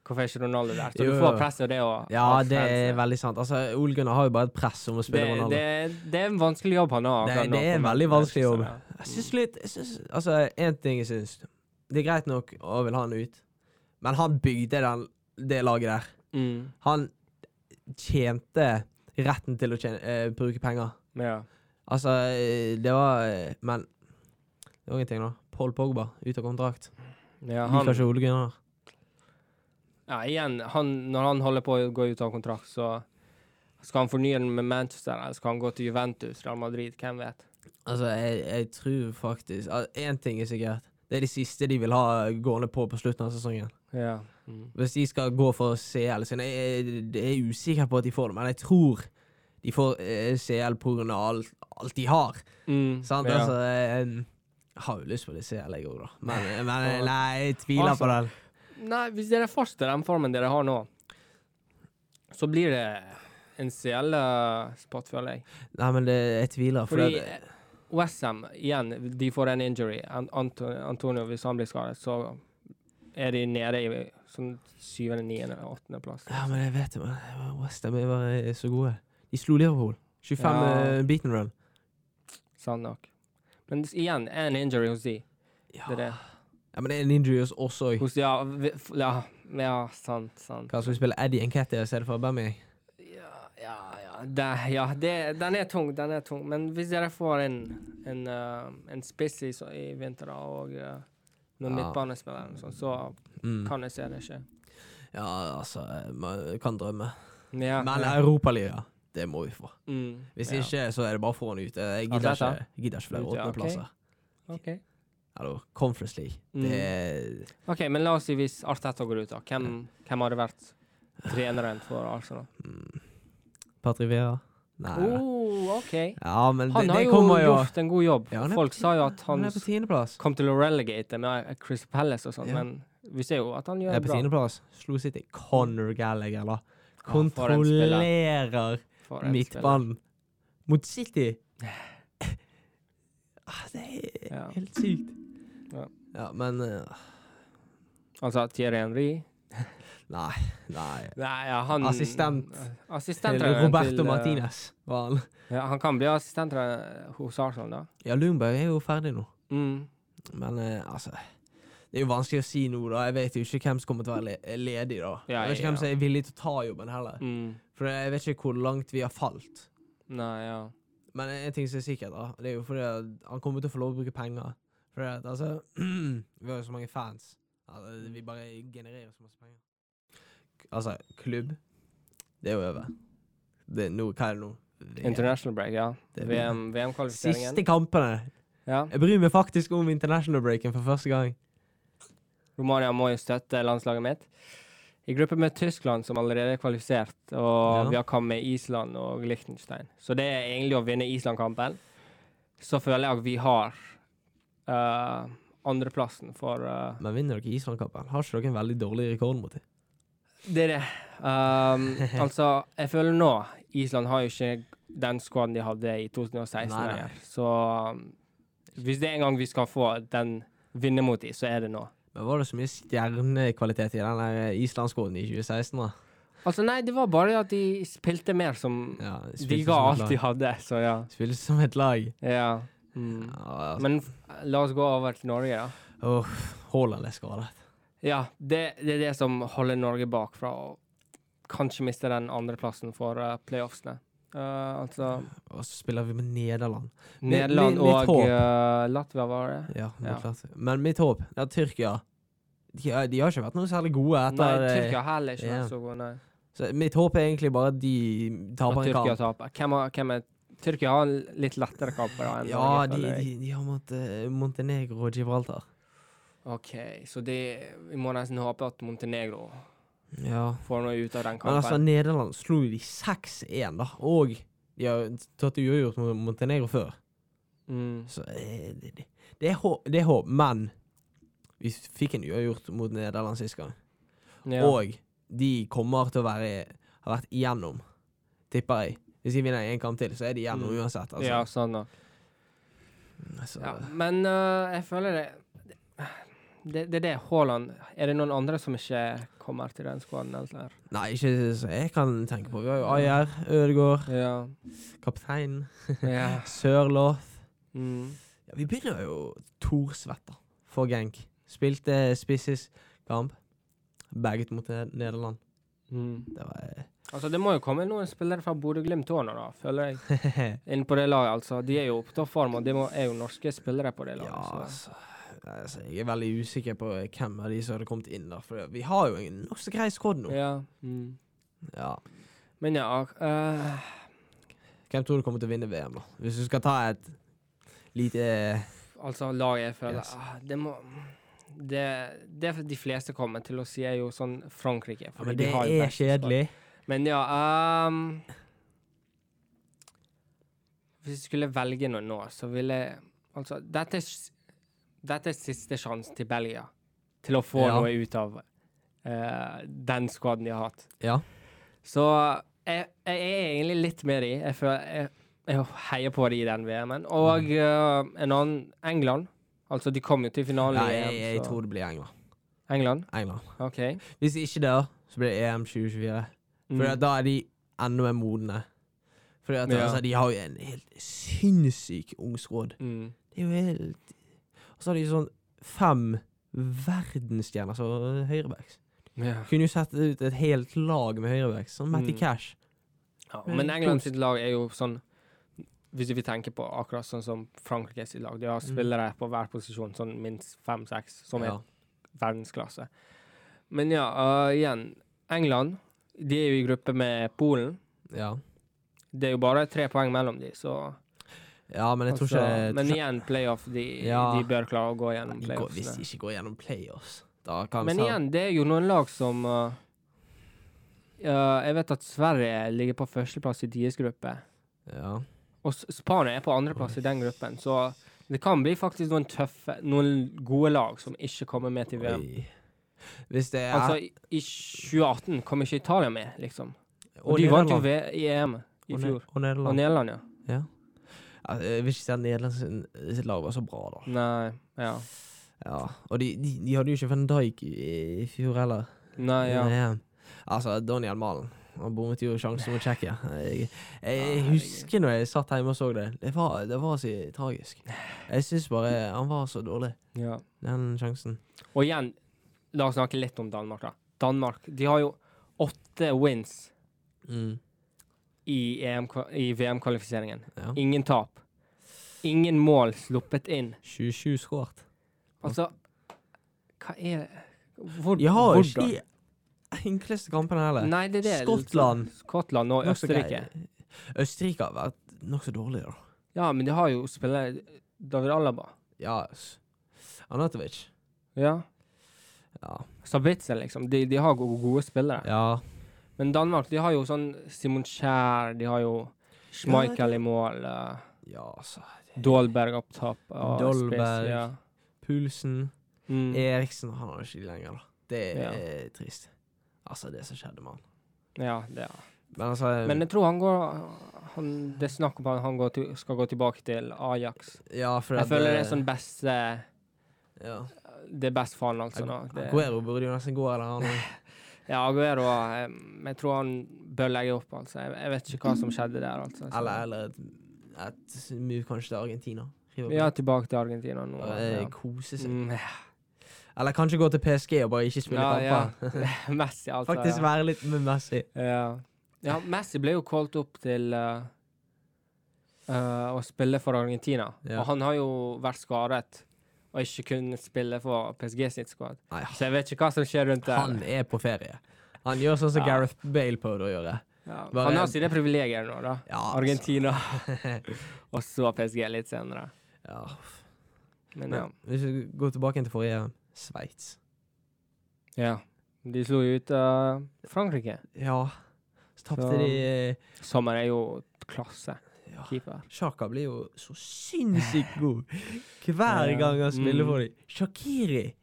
Speaker 2: hvorfor er ikke Ronaldo der? Så
Speaker 1: Jo,
Speaker 2: du
Speaker 1: jo.
Speaker 2: får presset det og
Speaker 1: ja,
Speaker 2: av
Speaker 1: det er
Speaker 2: fansen.
Speaker 1: veldig sant. Altså, Ole Gunnar har jo bare et press om å spille
Speaker 2: det,
Speaker 1: Ronaldo.
Speaker 2: det, det er en vanskelig jobb han har.
Speaker 1: Det-
Speaker 2: akkurat nå
Speaker 1: det er en
Speaker 2: for
Speaker 1: veldig vanskelig jobb.
Speaker 2: Manchester, ja.
Speaker 1: Jeg syns litt jeg synes, Altså, én ting jeg syns Det er greit nok å vil ha han ut, men han bygde den, det laget der.
Speaker 2: Mm.
Speaker 1: Han tjente retten til å tjene, eh, bruke penger.
Speaker 2: Mm. Ja.
Speaker 1: Altså, eh, det var eh, Men det var ingenting, da. Paul Pogba ut av kontrakt.
Speaker 2: Ja,
Speaker 1: Liker
Speaker 2: han,
Speaker 1: ikke Ole Gunnar.
Speaker 2: Ja, igjen, han, når han holder på å gå ut av kontrakt, så skal han fornye den med Manchester, eller skal han gå til Juventus, Real Madrid, hvem vet?
Speaker 1: Altså, jeg, jeg tror faktisk al- Én ting er sikkert. Det er de siste de vil ha gående på på slutten av sesongen.
Speaker 2: Ja.
Speaker 1: Hvis de skal gå for CL sin Jeg, jeg, jeg er usikker på at de får det, men jeg tror de får eh, CL pga. alt, alt de har.
Speaker 2: Mm,
Speaker 1: Sant?
Speaker 2: ja.
Speaker 1: Altså, jeg, jeg har jo lyst på det CL, jeg òg, da. Men, eh, men nei, jeg tviler
Speaker 2: Altså,
Speaker 1: på den.
Speaker 2: Nei, hvis dere fortsetter den formen dere har nå, så blir det en CL-spot, føler jeg.
Speaker 1: Nei, men det, jeg tviler. For
Speaker 2: Fordi
Speaker 1: at,
Speaker 2: Westham, igjen, de får en injury. An Anto- Antonio, hvis han blir skadet, så er de nede i sånn syvende, niende, åttende plass.
Speaker 1: ja, men jeg vet det, men Westham er bare så gode. De slo Liverpool. 25
Speaker 2: Ja.
Speaker 1: eh, beaten run.
Speaker 2: Sant nok. Men s- igjen, en injury hos de.
Speaker 1: Ja.
Speaker 2: Det er det.
Speaker 1: ja, men det er en injuries også.
Speaker 2: Hos de, ja, vi- f- ja, ja, sant, sant.
Speaker 1: Hva skal vi spille Eddie Nketi i stedet for Bammy?
Speaker 2: Ja, ja, ja, det, ja det, den er tung, den er tung. Men hvis dere får en, en, eh, en spiss i, så- i vinter da, og eh, noen
Speaker 1: Ja.
Speaker 2: midtbanespillere, eller noe sånt, så
Speaker 1: Mm.
Speaker 2: kan jeg se det skje.
Speaker 1: Ja, altså eh, Man kan drømme.
Speaker 2: Ja,
Speaker 1: Men
Speaker 2: ja.
Speaker 1: Europaliga, det må vi få.
Speaker 2: Mm,
Speaker 1: Hvis
Speaker 2: ja.
Speaker 1: ikke, så er det bare å få han ut. Jeg gidder
Speaker 2: Arteta?
Speaker 1: ikke, jeg gidder ikke flere
Speaker 2: Ut, ja, ok.
Speaker 1: åttendeplasser.
Speaker 2: Ok.
Speaker 1: Eller Conference League.
Speaker 2: Mm.
Speaker 1: Det er
Speaker 2: OK, men la oss si hvis Arteta går ut, da. Hvem, hvem hadde vært treneren for Arsenal?
Speaker 1: mm. Patrick Vera? Nei. da.
Speaker 2: Oh, OK.
Speaker 1: Ja, men det,
Speaker 2: Han har
Speaker 1: det
Speaker 2: jo
Speaker 1: kommer jo
Speaker 2: gjort en god jobb.
Speaker 1: Ja, han er
Speaker 2: Folk
Speaker 1: på
Speaker 2: sa jo at
Speaker 1: Han
Speaker 2: han
Speaker 1: er på tiendeplass.
Speaker 2: kom til å relegate det med Chris Palace og sånn,
Speaker 1: Ja.
Speaker 2: men vi ser jo at han gjør
Speaker 1: Er
Speaker 2: det
Speaker 1: på
Speaker 2: bra.
Speaker 1: tiendeplass. Slo City. Conor Gallagher, da.
Speaker 2: for en spiller.
Speaker 1: Kontrollerer
Speaker 2: for en
Speaker 1: midtbanen mot City. Ah, Det er
Speaker 2: spiller. Ja.
Speaker 1: helt sykt.
Speaker 2: Ja.
Speaker 1: Ja, men eh,
Speaker 2: Altså Thierry Henry.
Speaker 1: Nei. nei.
Speaker 2: Nei, ja, han
Speaker 1: Assistent.
Speaker 2: Assistent
Speaker 1: Roberto Martinez var han.
Speaker 2: eh, Ja, han kan bli assistent eh, hos Arsenal, da.
Speaker 1: Ja, Lundberg er jo ferdig nå,
Speaker 2: Mm.
Speaker 1: men eh, altså Det er jo vanskelig å si nå, da. Jeg vet jo ikke hvem som kommer til å være le ledig, da.
Speaker 2: Ja,
Speaker 1: jeg vet ikke
Speaker 2: ja.
Speaker 1: hvem som er villig til å ta jobben heller.
Speaker 2: Mm.
Speaker 1: For jeg vet ikke hvor langt vi har falt.
Speaker 2: Nei, ja.
Speaker 1: Men en ting som er sikkert, da, det er jo fordi at han kommer til å få lov å bruke penger. For at, altså Vi har jo så mange fans. Altså, vi bare genererer så masse penger. K- Altså, klubb Det er jo over. Det er nå Hva er det nå? VM.
Speaker 2: International break, ja.
Speaker 1: Det er-
Speaker 2: VM VM-kvalifiseringen.
Speaker 1: Siste kampene.
Speaker 2: Ja.
Speaker 1: Jeg bryr meg faktisk om international breaken for første gang.
Speaker 2: Romania må jo støtte landslaget mitt. I gruppe med Tyskland, som allerede er kvalifisert, og
Speaker 1: Ja.
Speaker 2: vi har kommet med Island og Liechtenstein. Så det er egentlig å vinne Island-kampen. Så føler jeg at vi har eh, andreplassen for eh,
Speaker 1: Men vinner dere Island-kampen, har ikke dere en veldig dårlig rekord mot dem?
Speaker 2: Det er det. Um, altså, jeg føler nå Island har jo ikke den skåden de hadde i
Speaker 1: Nei,
Speaker 2: 2016
Speaker 1: nei.
Speaker 2: lenger. Så um, hvis det er en gang vi skal få den vinne mot dem, så er det nå.
Speaker 1: Men var det så mye stjernekvalitet i den der Island-skåden i 2016, da?
Speaker 2: Altså, nei, det var bare at de spilte mer som
Speaker 1: Ja,
Speaker 2: De
Speaker 1: spilte
Speaker 2: ga
Speaker 1: som et
Speaker 2: alt
Speaker 1: lag.
Speaker 2: de hadde, så ja.
Speaker 1: Spilte som et lag.
Speaker 2: ja. Mm.
Speaker 1: Ja, altså.
Speaker 2: Men f- la oss gå over til Norge, da.
Speaker 1: Åh, Haaland er skadet.
Speaker 2: Ja, det, det er det som holder Norge bakfra. Og kanskje miste den andreplassen for eh, playoffsene. Eh, altså
Speaker 1: Og så spiller vi med Nederland. Mi-
Speaker 2: Nederland
Speaker 1: mi- mitt
Speaker 2: og
Speaker 1: håp-
Speaker 2: eh, Latvia, var det?
Speaker 1: Ja, det er
Speaker 2: Ja.
Speaker 1: klart. Men mitt håp er at Tyrkia de, har- de har ikke vært noe særlig gode etter
Speaker 2: Nei,
Speaker 1: eh,
Speaker 2: Tyrkia heller ikke
Speaker 1: ja.
Speaker 2: vært så god, nei.
Speaker 1: Så mitt håp er egentlig bare at de
Speaker 2: Og
Speaker 1: taper en
Speaker 2: Tyrkia
Speaker 1: kamp.
Speaker 2: taper. Hvem, har- hvem er Tyrkia har en litt lettere kamper da, enn
Speaker 1: Ja,
Speaker 2: Norge,
Speaker 1: de,
Speaker 2: føler jeg.
Speaker 1: de, de har mot eh, Montenegro og Gibraltar.
Speaker 2: OK, så det Vi må nesten håpe at Montenegro
Speaker 1: Ja.
Speaker 2: får noe ut av den
Speaker 1: Men altså,
Speaker 2: kampen.
Speaker 1: Nederland slo jo de 6-1, da. Og de har tatt uavgjort mot Montenegro før.
Speaker 2: mm.
Speaker 1: Så eh, det, det, det, er håp, det er håp, men vi fikk en uavgjort mot Nederland sist gang.
Speaker 2: ja.
Speaker 1: Og de kommer til å være Har vært igjennom, tipper jeg. Hvis de vinner én kamp til, så er de igjennom
Speaker 2: Mm.
Speaker 1: uansett. Altså.
Speaker 2: ja, sånn da.
Speaker 1: Så,
Speaker 2: Ja, men øh, jeg føler det det, det er det. Haaland Er det noen andre som ikke kommer til den skåden? Eller? sånn
Speaker 1: Nei, ikke så jeg kan tenke på. Vi har jo Ayer, Ødegaard,
Speaker 2: Ja.
Speaker 1: kapteinen,
Speaker 2: ja.
Speaker 1: Sørloth
Speaker 2: Mm.
Speaker 1: ja, Vi begynner jo Thorsvedt, da, for Genk. Spilte spisses kamp. Bagget mot Ned- Nederland.
Speaker 2: Mm.
Speaker 1: Det var eh,
Speaker 2: Altså, det må jo komme noen spillere fra Bodø-Glimt òg nå, da, føler jeg. Inn på det laget, altså. De er jo på toppform, og de må, er jo norske spillere på det
Speaker 1: Ja,
Speaker 2: laget.
Speaker 1: altså. Nei, altså, jeg er veldig usikker på hvem av de som hadde kommet inn der. For vi har jo en nokså grei skåd nå.
Speaker 2: Ja. Mm.
Speaker 1: Ja.
Speaker 2: Men ja eh,
Speaker 1: Hvem tror du kommer til å vinne VM, da? Hvis du skal ta et lite
Speaker 2: Altså, laget jeg føler
Speaker 1: Yes.
Speaker 2: ah, Det må det, det de fleste kommer til å si, er jo sånn Frankrike.
Speaker 1: ja,
Speaker 2: fordi
Speaker 1: Men
Speaker 2: de
Speaker 1: det
Speaker 2: har jo
Speaker 1: er
Speaker 2: best squad.
Speaker 1: kjedelig.
Speaker 2: Men ja ehm, Hvis jeg skulle velge noe nå, så ville jeg Altså, dette er, s- dette er siste sjansen til Belgia til å få
Speaker 1: Ja.
Speaker 2: noe ut av eh, den skvaden de har hatt.
Speaker 1: Ja.
Speaker 2: Så jeg, jeg er egentlig litt med de. Jeg, føler, jeg, jeg heier på de i den VM-en.
Speaker 1: Mhm.
Speaker 2: Og eh, en annen England. Altså, de kom jo til finalen
Speaker 1: Nei,
Speaker 2: i
Speaker 1: jeg,
Speaker 2: EM,
Speaker 1: jeg
Speaker 2: så
Speaker 1: tror det blir England.
Speaker 2: England?
Speaker 1: England.
Speaker 2: OK.
Speaker 1: Hvis ikke der, så blir det EM 2024.
Speaker 2: Mm.
Speaker 1: For da er de enda mer modne. For
Speaker 2: Ja.
Speaker 1: altså, de har jo en helt sinnssyk ung skråd.
Speaker 2: Mm.
Speaker 1: Det er jo helt Og så har de sånn fem verdensstjerner som høyrebacks.
Speaker 2: Mm. Ja.
Speaker 1: Kunne jo sett ut et helt lag med høyrebacks, som Matty
Speaker 2: Mm.
Speaker 1: Cash.
Speaker 2: Ja,
Speaker 1: Men
Speaker 2: men
Speaker 1: det er
Speaker 2: England
Speaker 1: kunst.
Speaker 2: sitt lag er jo sånn Hvis vi tenker på akkurat sånn som Frankrike sitt lag. De har spillere på hver posisjon, sånn minst fem-seks, som
Speaker 1: Mm. Ja.
Speaker 2: er verdensklasse. Men ja, øh, igjen. England de er jo i gruppe med Polen.
Speaker 1: Ja.
Speaker 2: Det er jo bare tre poeng mellom de, så
Speaker 1: ja, men jeg tror
Speaker 2: altså,
Speaker 1: ikke jeg tror
Speaker 2: Men
Speaker 1: ikke-
Speaker 2: igjen, playoff. De,
Speaker 1: Ja.
Speaker 2: de bør klare å gå gjennom
Speaker 1: De går, hvis de
Speaker 2: playoffene.
Speaker 1: ikke går gjennom playoffs, da kan
Speaker 2: Men
Speaker 1: Sam-
Speaker 2: igjen, det er jo noen lag som øh, øh, Jeg vet at Sverige ligger på førsteplass i deres gruppe.
Speaker 1: ja.
Speaker 2: Og S- Spania er på andreplass i den gruppen, så det kan bli faktisk noen tøffe, noen gode lag som ikke kommer med til VM.
Speaker 1: Oi. Hvis det er
Speaker 2: Altså, i, i 2018 kom ikke Italia med, liksom. Og,
Speaker 1: Og
Speaker 2: de vant jo
Speaker 1: Nederland.
Speaker 2: V- i EM i
Speaker 1: Og Ne-
Speaker 2: fjor.
Speaker 1: Og
Speaker 2: Og
Speaker 1: Nederland.
Speaker 2: Nederland, ja.
Speaker 1: Altså, Jeg vil ikke si at Nederland sin, sitt lag var så bra, da.
Speaker 2: Nei, ja.
Speaker 1: Ja. Og de, de, de hadde jo ikke Van Dijk i, i fjor heller.
Speaker 2: Nei, Ah, ja.
Speaker 1: Under EM. Altså, Daniel Malen. Han bommet jo sjansen mot Tsjekkia. Jeg,
Speaker 2: Ah,
Speaker 1: jeg husker når jeg satt hjemme og så det. Det var, det var så tragisk. Jeg syns bare han var så dårlig,
Speaker 2: ja.
Speaker 1: den sjansen.
Speaker 2: Og igjen, la oss snakke litt om Danmark, da. Danmark de har jo åtte wins
Speaker 1: Mm.
Speaker 2: i, EM kva- i VM-kvalifiseringen.
Speaker 1: Ja.
Speaker 2: Ingen tap. Ingen mål sluppet inn.
Speaker 1: 27 skåret.
Speaker 2: Altså, hva er hvor,
Speaker 1: Jeg har jo
Speaker 2: hvordan?
Speaker 1: ikke de enkleste kampene heller.
Speaker 2: Nei, det er det.
Speaker 1: Skottland.
Speaker 2: Skottland og
Speaker 1: Nokså
Speaker 2: Østerrike.
Speaker 1: grei. Østerrike har vært nokså dårlig, da.
Speaker 2: Ja, men de har jo spillere David Alaba.
Speaker 1: Ja. s- Anatovic.
Speaker 2: Ja.
Speaker 1: Ja.
Speaker 2: Sabitzer, liksom. De, de har go- gode spillere.
Speaker 1: ja.
Speaker 2: Men Danmark, de har jo sånn Simon Kjær, de har jo Schmeichel i mål, eh,
Speaker 1: Ja, altså.
Speaker 2: Dolberg opp topp. og
Speaker 1: Dolberg. Eh.
Speaker 2: spiss, Ja.
Speaker 1: Pulsen.
Speaker 2: Mm.
Speaker 1: Eriksen han har ikke de lenger, da. Det
Speaker 2: Ja.
Speaker 1: er trist. Altså, det som skjedde med han.
Speaker 2: ja, det er.
Speaker 1: Men altså
Speaker 2: Men jeg tror han går han, Det er snakk om at han går til, skal gå tilbake til Ajax.
Speaker 1: Ja, for
Speaker 2: Jeg
Speaker 1: at,
Speaker 2: føler
Speaker 1: eh,
Speaker 2: det er sånn beste
Speaker 1: ja.
Speaker 2: Det er best for han, altså. nå. Det-
Speaker 1: Aguero burde jo nesten gå, eller han
Speaker 2: Ja, Aguero eh, Jeg tror han bør legge opp, altså. Jeg, jeg vet ikke hva som skjedde der, altså. Så-
Speaker 1: Eller, eller et, et move kanskje til Argentina. River
Speaker 2: Vi er
Speaker 1: Plate.
Speaker 2: tilbake til Argentina nå.
Speaker 1: Bare, eh,
Speaker 2: Ja.
Speaker 1: Kose seg.
Speaker 2: Mm,
Speaker 1: Eller kanskje gå til PSG og bare ikke spille
Speaker 2: ja, ja.
Speaker 1: kamper.
Speaker 2: Messi, altså.
Speaker 1: Faktisk
Speaker 2: ja.
Speaker 1: være litt med Messi.
Speaker 2: Ja. ja, Messi ble jo kalt opp til eh, eh, å spille for Argentina.
Speaker 1: Ja.
Speaker 2: Og han har jo vært skadet og ikke kunnet spille for PSG sitt squad.
Speaker 1: Nei,
Speaker 2: Så jeg vet ikke hva som skjer rundt der.
Speaker 1: Han er på ferie. Han gjør sånn som
Speaker 2: Ja.
Speaker 1: Gareth Bale prøvde å gjøre.
Speaker 2: ja.
Speaker 1: bare-
Speaker 2: han har sine privilegier nå, da.
Speaker 1: Ja, altså.
Speaker 2: Argentina, og så PSG litt senere.
Speaker 1: Ja.
Speaker 2: Men ja.
Speaker 1: Men, hvis vi går tilbake til forrige Sveits.
Speaker 2: ja. De slo jo ut eh, Frankrike.
Speaker 1: Ja. Så tapte
Speaker 2: Så-
Speaker 1: de eh,
Speaker 2: Sommer er jo klasse.
Speaker 1: Ja.
Speaker 2: Keeper.
Speaker 1: Sjaka blir jo så sinnssykt god hver
Speaker 2: Ja.
Speaker 1: gang han spiller
Speaker 2: Mm.
Speaker 1: for dem. Shakiri!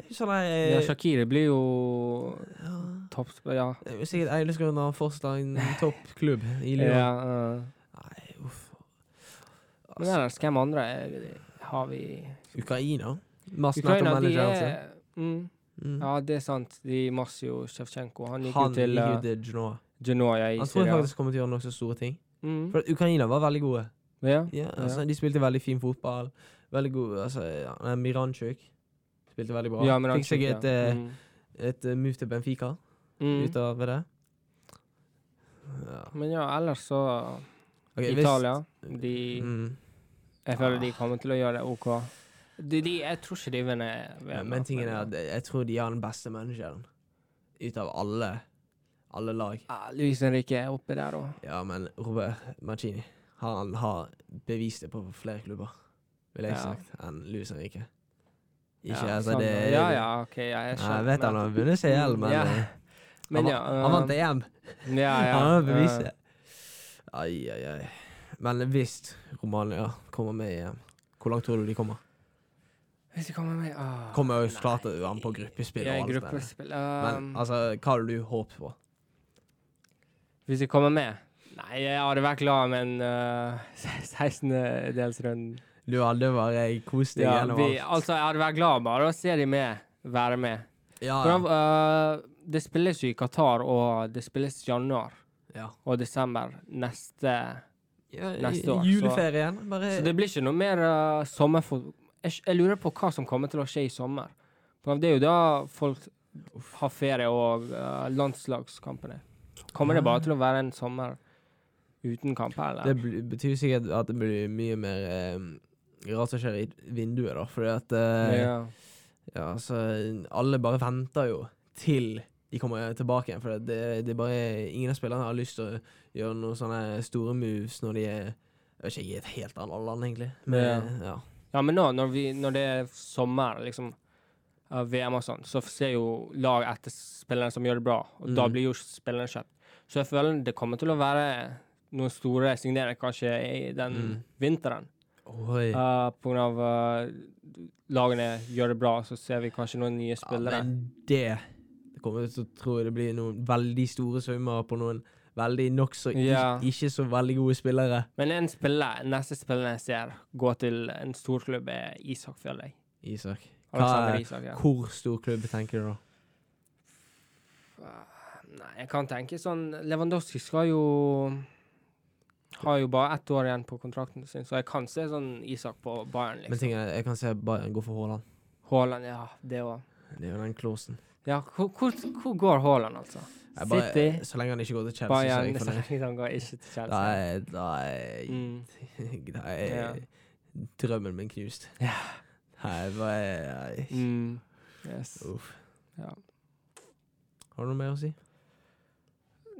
Speaker 1: Det er jo Sånn der
Speaker 2: Ja,
Speaker 1: eh,
Speaker 2: Shakiri blir jo toppspiller, ja.
Speaker 1: Det er jo sikkert eneste grunn han fortsatt en toppklubb i Lyon.
Speaker 2: ja eh.
Speaker 1: Nei, uff.
Speaker 2: Men
Speaker 1: Altså,
Speaker 2: ellers, hvem andre er, har vi
Speaker 1: Ukraina? Massen
Speaker 2: Ukraina, de
Speaker 1: manageren sin.
Speaker 2: er mm,
Speaker 1: Mm.
Speaker 2: Ja, det er sant. De Masjo Sjevtsjenko. Han gikk
Speaker 1: Han
Speaker 2: jo til
Speaker 1: gikk jo
Speaker 2: uh,
Speaker 1: til Genoa.
Speaker 2: Genoa i
Speaker 1: Han tror jeg
Speaker 2: Syria.
Speaker 1: faktisk kommer til å gjøre nokså store ting.
Speaker 2: Mm,
Speaker 1: For at Ukraina var veldig gode.
Speaker 2: ja.
Speaker 1: Ja, altså, De spilte veldig fin fotball. Veldig god altså, ja, nei, Miranchuk spilte veldig bra.
Speaker 2: ja, men han
Speaker 1: Fikk seg et,
Speaker 2: kjøpte,
Speaker 1: eh,
Speaker 2: mm.
Speaker 1: et eh, move til Benfica
Speaker 2: Mm.
Speaker 1: ut av det. Ja.
Speaker 2: Men ja, ellers så
Speaker 1: Ok, hvis- Ah.
Speaker 2: Italia. De,
Speaker 1: Mm.
Speaker 2: jeg føler de kommer til å gjøre det OK. De, de, jeg tror ikke de vinner
Speaker 1: Ja,
Speaker 2: VM.
Speaker 1: men
Speaker 2: da,
Speaker 1: tingen er at jeg tror de har den beste manageren ut av alle, alle lag.
Speaker 2: ja, Luis Henrique er oppe der òg.
Speaker 1: Ja, men Robert Mancini han har bevist det på flere klubber, vil jeg
Speaker 2: Ja.
Speaker 1: sagt, enn Luis Henrique. Ikke,
Speaker 2: ja,
Speaker 1: altså,
Speaker 2: sånn.
Speaker 1: det
Speaker 2: Ja, ja, OK, ja, jeg
Speaker 1: Nei,
Speaker 2: skjønner.
Speaker 1: jeg vet han har vunnet CL, men,
Speaker 2: Ja,
Speaker 1: eh,
Speaker 2: men
Speaker 1: han,
Speaker 2: ja,
Speaker 1: va- han vant
Speaker 2: eh,
Speaker 1: EM.
Speaker 2: Ja, ja.
Speaker 1: han har
Speaker 2: eh,
Speaker 1: beviset. Ai, ai, ai. Men hvis Romania kommer med i EM, hvor langt tror du de kommer?
Speaker 2: Hvis de kommer med ah,
Speaker 1: Kommer jo klart
Speaker 2: nei.
Speaker 1: an på gruppespill
Speaker 2: Ja,
Speaker 1: og alt det der.
Speaker 2: gruppespill.
Speaker 1: Men
Speaker 2: ehm,
Speaker 1: altså, hva hadde du håpet på?
Speaker 2: Hvis de kommer med? Nei, jeg hadde vært glad med en eh, 16.-delsrunde.
Speaker 1: Du hadde bare kost deg
Speaker 2: Ja,
Speaker 1: gjennom
Speaker 2: vi,
Speaker 1: alt.
Speaker 2: altså, jeg hadde vært glad bare å se de med, være med.
Speaker 1: Ja,
Speaker 2: Hvordan, eh, det spilles jo i Qatar, og det spilles i januar
Speaker 1: ja.
Speaker 2: og desember neste
Speaker 1: ja.
Speaker 2: neste
Speaker 1: i-
Speaker 2: år, så-
Speaker 1: Juleferien. Bare
Speaker 2: Så det blir ikke noe mer uh, sommerfotball. Jeg, sk- jeg lurer på hva som kommer til å skje i sommer. For det er jo da folk har ferie og eh, landslagskampene. Kommer det bare til å være en sommer uten kamper, eller?
Speaker 1: Det bl- betyr sikkert at det blir mye mer eh, rart som skjer i vinduet, da. Fordi at eh, ja.
Speaker 2: ja.
Speaker 1: så eh, alle bare venter jo til de kommer tilbake igjen. For det, det er bare ingen av spillerne har lyst til å gjøre noen sånne store moves når de er jeg vet ikke, i et helt annet land, egentlig. Men, ja.
Speaker 2: ja, men nå når, vi, når det er sommer, liksom eh, VM og sånn, så ser jo lag etter spillerne som gjør det bra, og da
Speaker 1: Mm.
Speaker 2: blir jo spillerne kjøpt. Så jeg føler det kommer til å være noen store signeringer kanskje i den
Speaker 1: Mm.
Speaker 2: vinteren.
Speaker 1: Oi.
Speaker 2: Uh, på grunn av eh, lagene gjør det bra, så ser vi kanskje noen nye
Speaker 1: Ja,
Speaker 2: spillere.
Speaker 1: men det det kommer til å tro det blir noen veldig store summer på noen veldig nokså
Speaker 2: Ja.
Speaker 1: ikke, ikke så veldig gode spillere.
Speaker 2: men, en spiller, neste spiller jeg ser gå til en storklubb, er Isak Fjelldeg.
Speaker 1: Isak. Hva,
Speaker 2: Alexander Isak, ja.
Speaker 1: hvor stor klubb tenker du da?
Speaker 2: Nei, jeg kan tenke sånn Lewandowski skal jo Har jo bare ett år igjen på kontrakten sin, så jeg kan se sånn Isak på Bayern,
Speaker 1: Men
Speaker 2: liksom.
Speaker 1: ting er, jeg kan se Bayern gå for Haaland.
Speaker 2: Haaland, ja, det òg.
Speaker 1: Det er jo den klausen.
Speaker 2: Ja, hvor, hvor, hvor går Haaland, altså?
Speaker 1: Jeg Bare,
Speaker 2: City,
Speaker 1: Så lenge han ikke går til Chelsea, så er
Speaker 2: Bayern
Speaker 1: jeg
Speaker 2: så
Speaker 1: fornøyd.
Speaker 2: lenge Han går ikke til
Speaker 1: Da
Speaker 2: Chelsea.
Speaker 1: er, da er,
Speaker 2: Mm.
Speaker 1: da er drømmen min knust.
Speaker 2: Ja.
Speaker 1: Nei, bare
Speaker 2: Mm. Yes.
Speaker 1: Uff.
Speaker 2: Ja.
Speaker 1: Har du noe mer å si?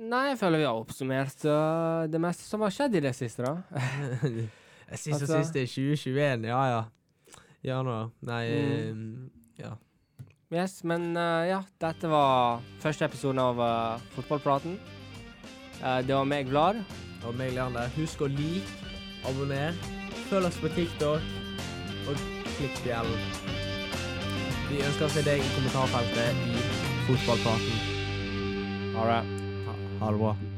Speaker 2: Nei, jeg føler vi har oppsummert øh, det meste som har skjedd i det siste, da.
Speaker 1: Sist og
Speaker 2: Altså-
Speaker 1: sist er 2021, ja ja. Januar. Nei
Speaker 2: Mm.
Speaker 1: eh, Ja.
Speaker 2: Yes, men øh, ja, dette var første episode av øh, Fotballpraten. Eh, det var meg, Vlad.
Speaker 1: Og meg, Leander. Husk å like, abonner, følg oss på TikTok, og klikk bjellen. Vi ønsker å se deg i kommentarfeltet i Fotballpraten.
Speaker 2: Ha det.
Speaker 1: Ha, ha det bra.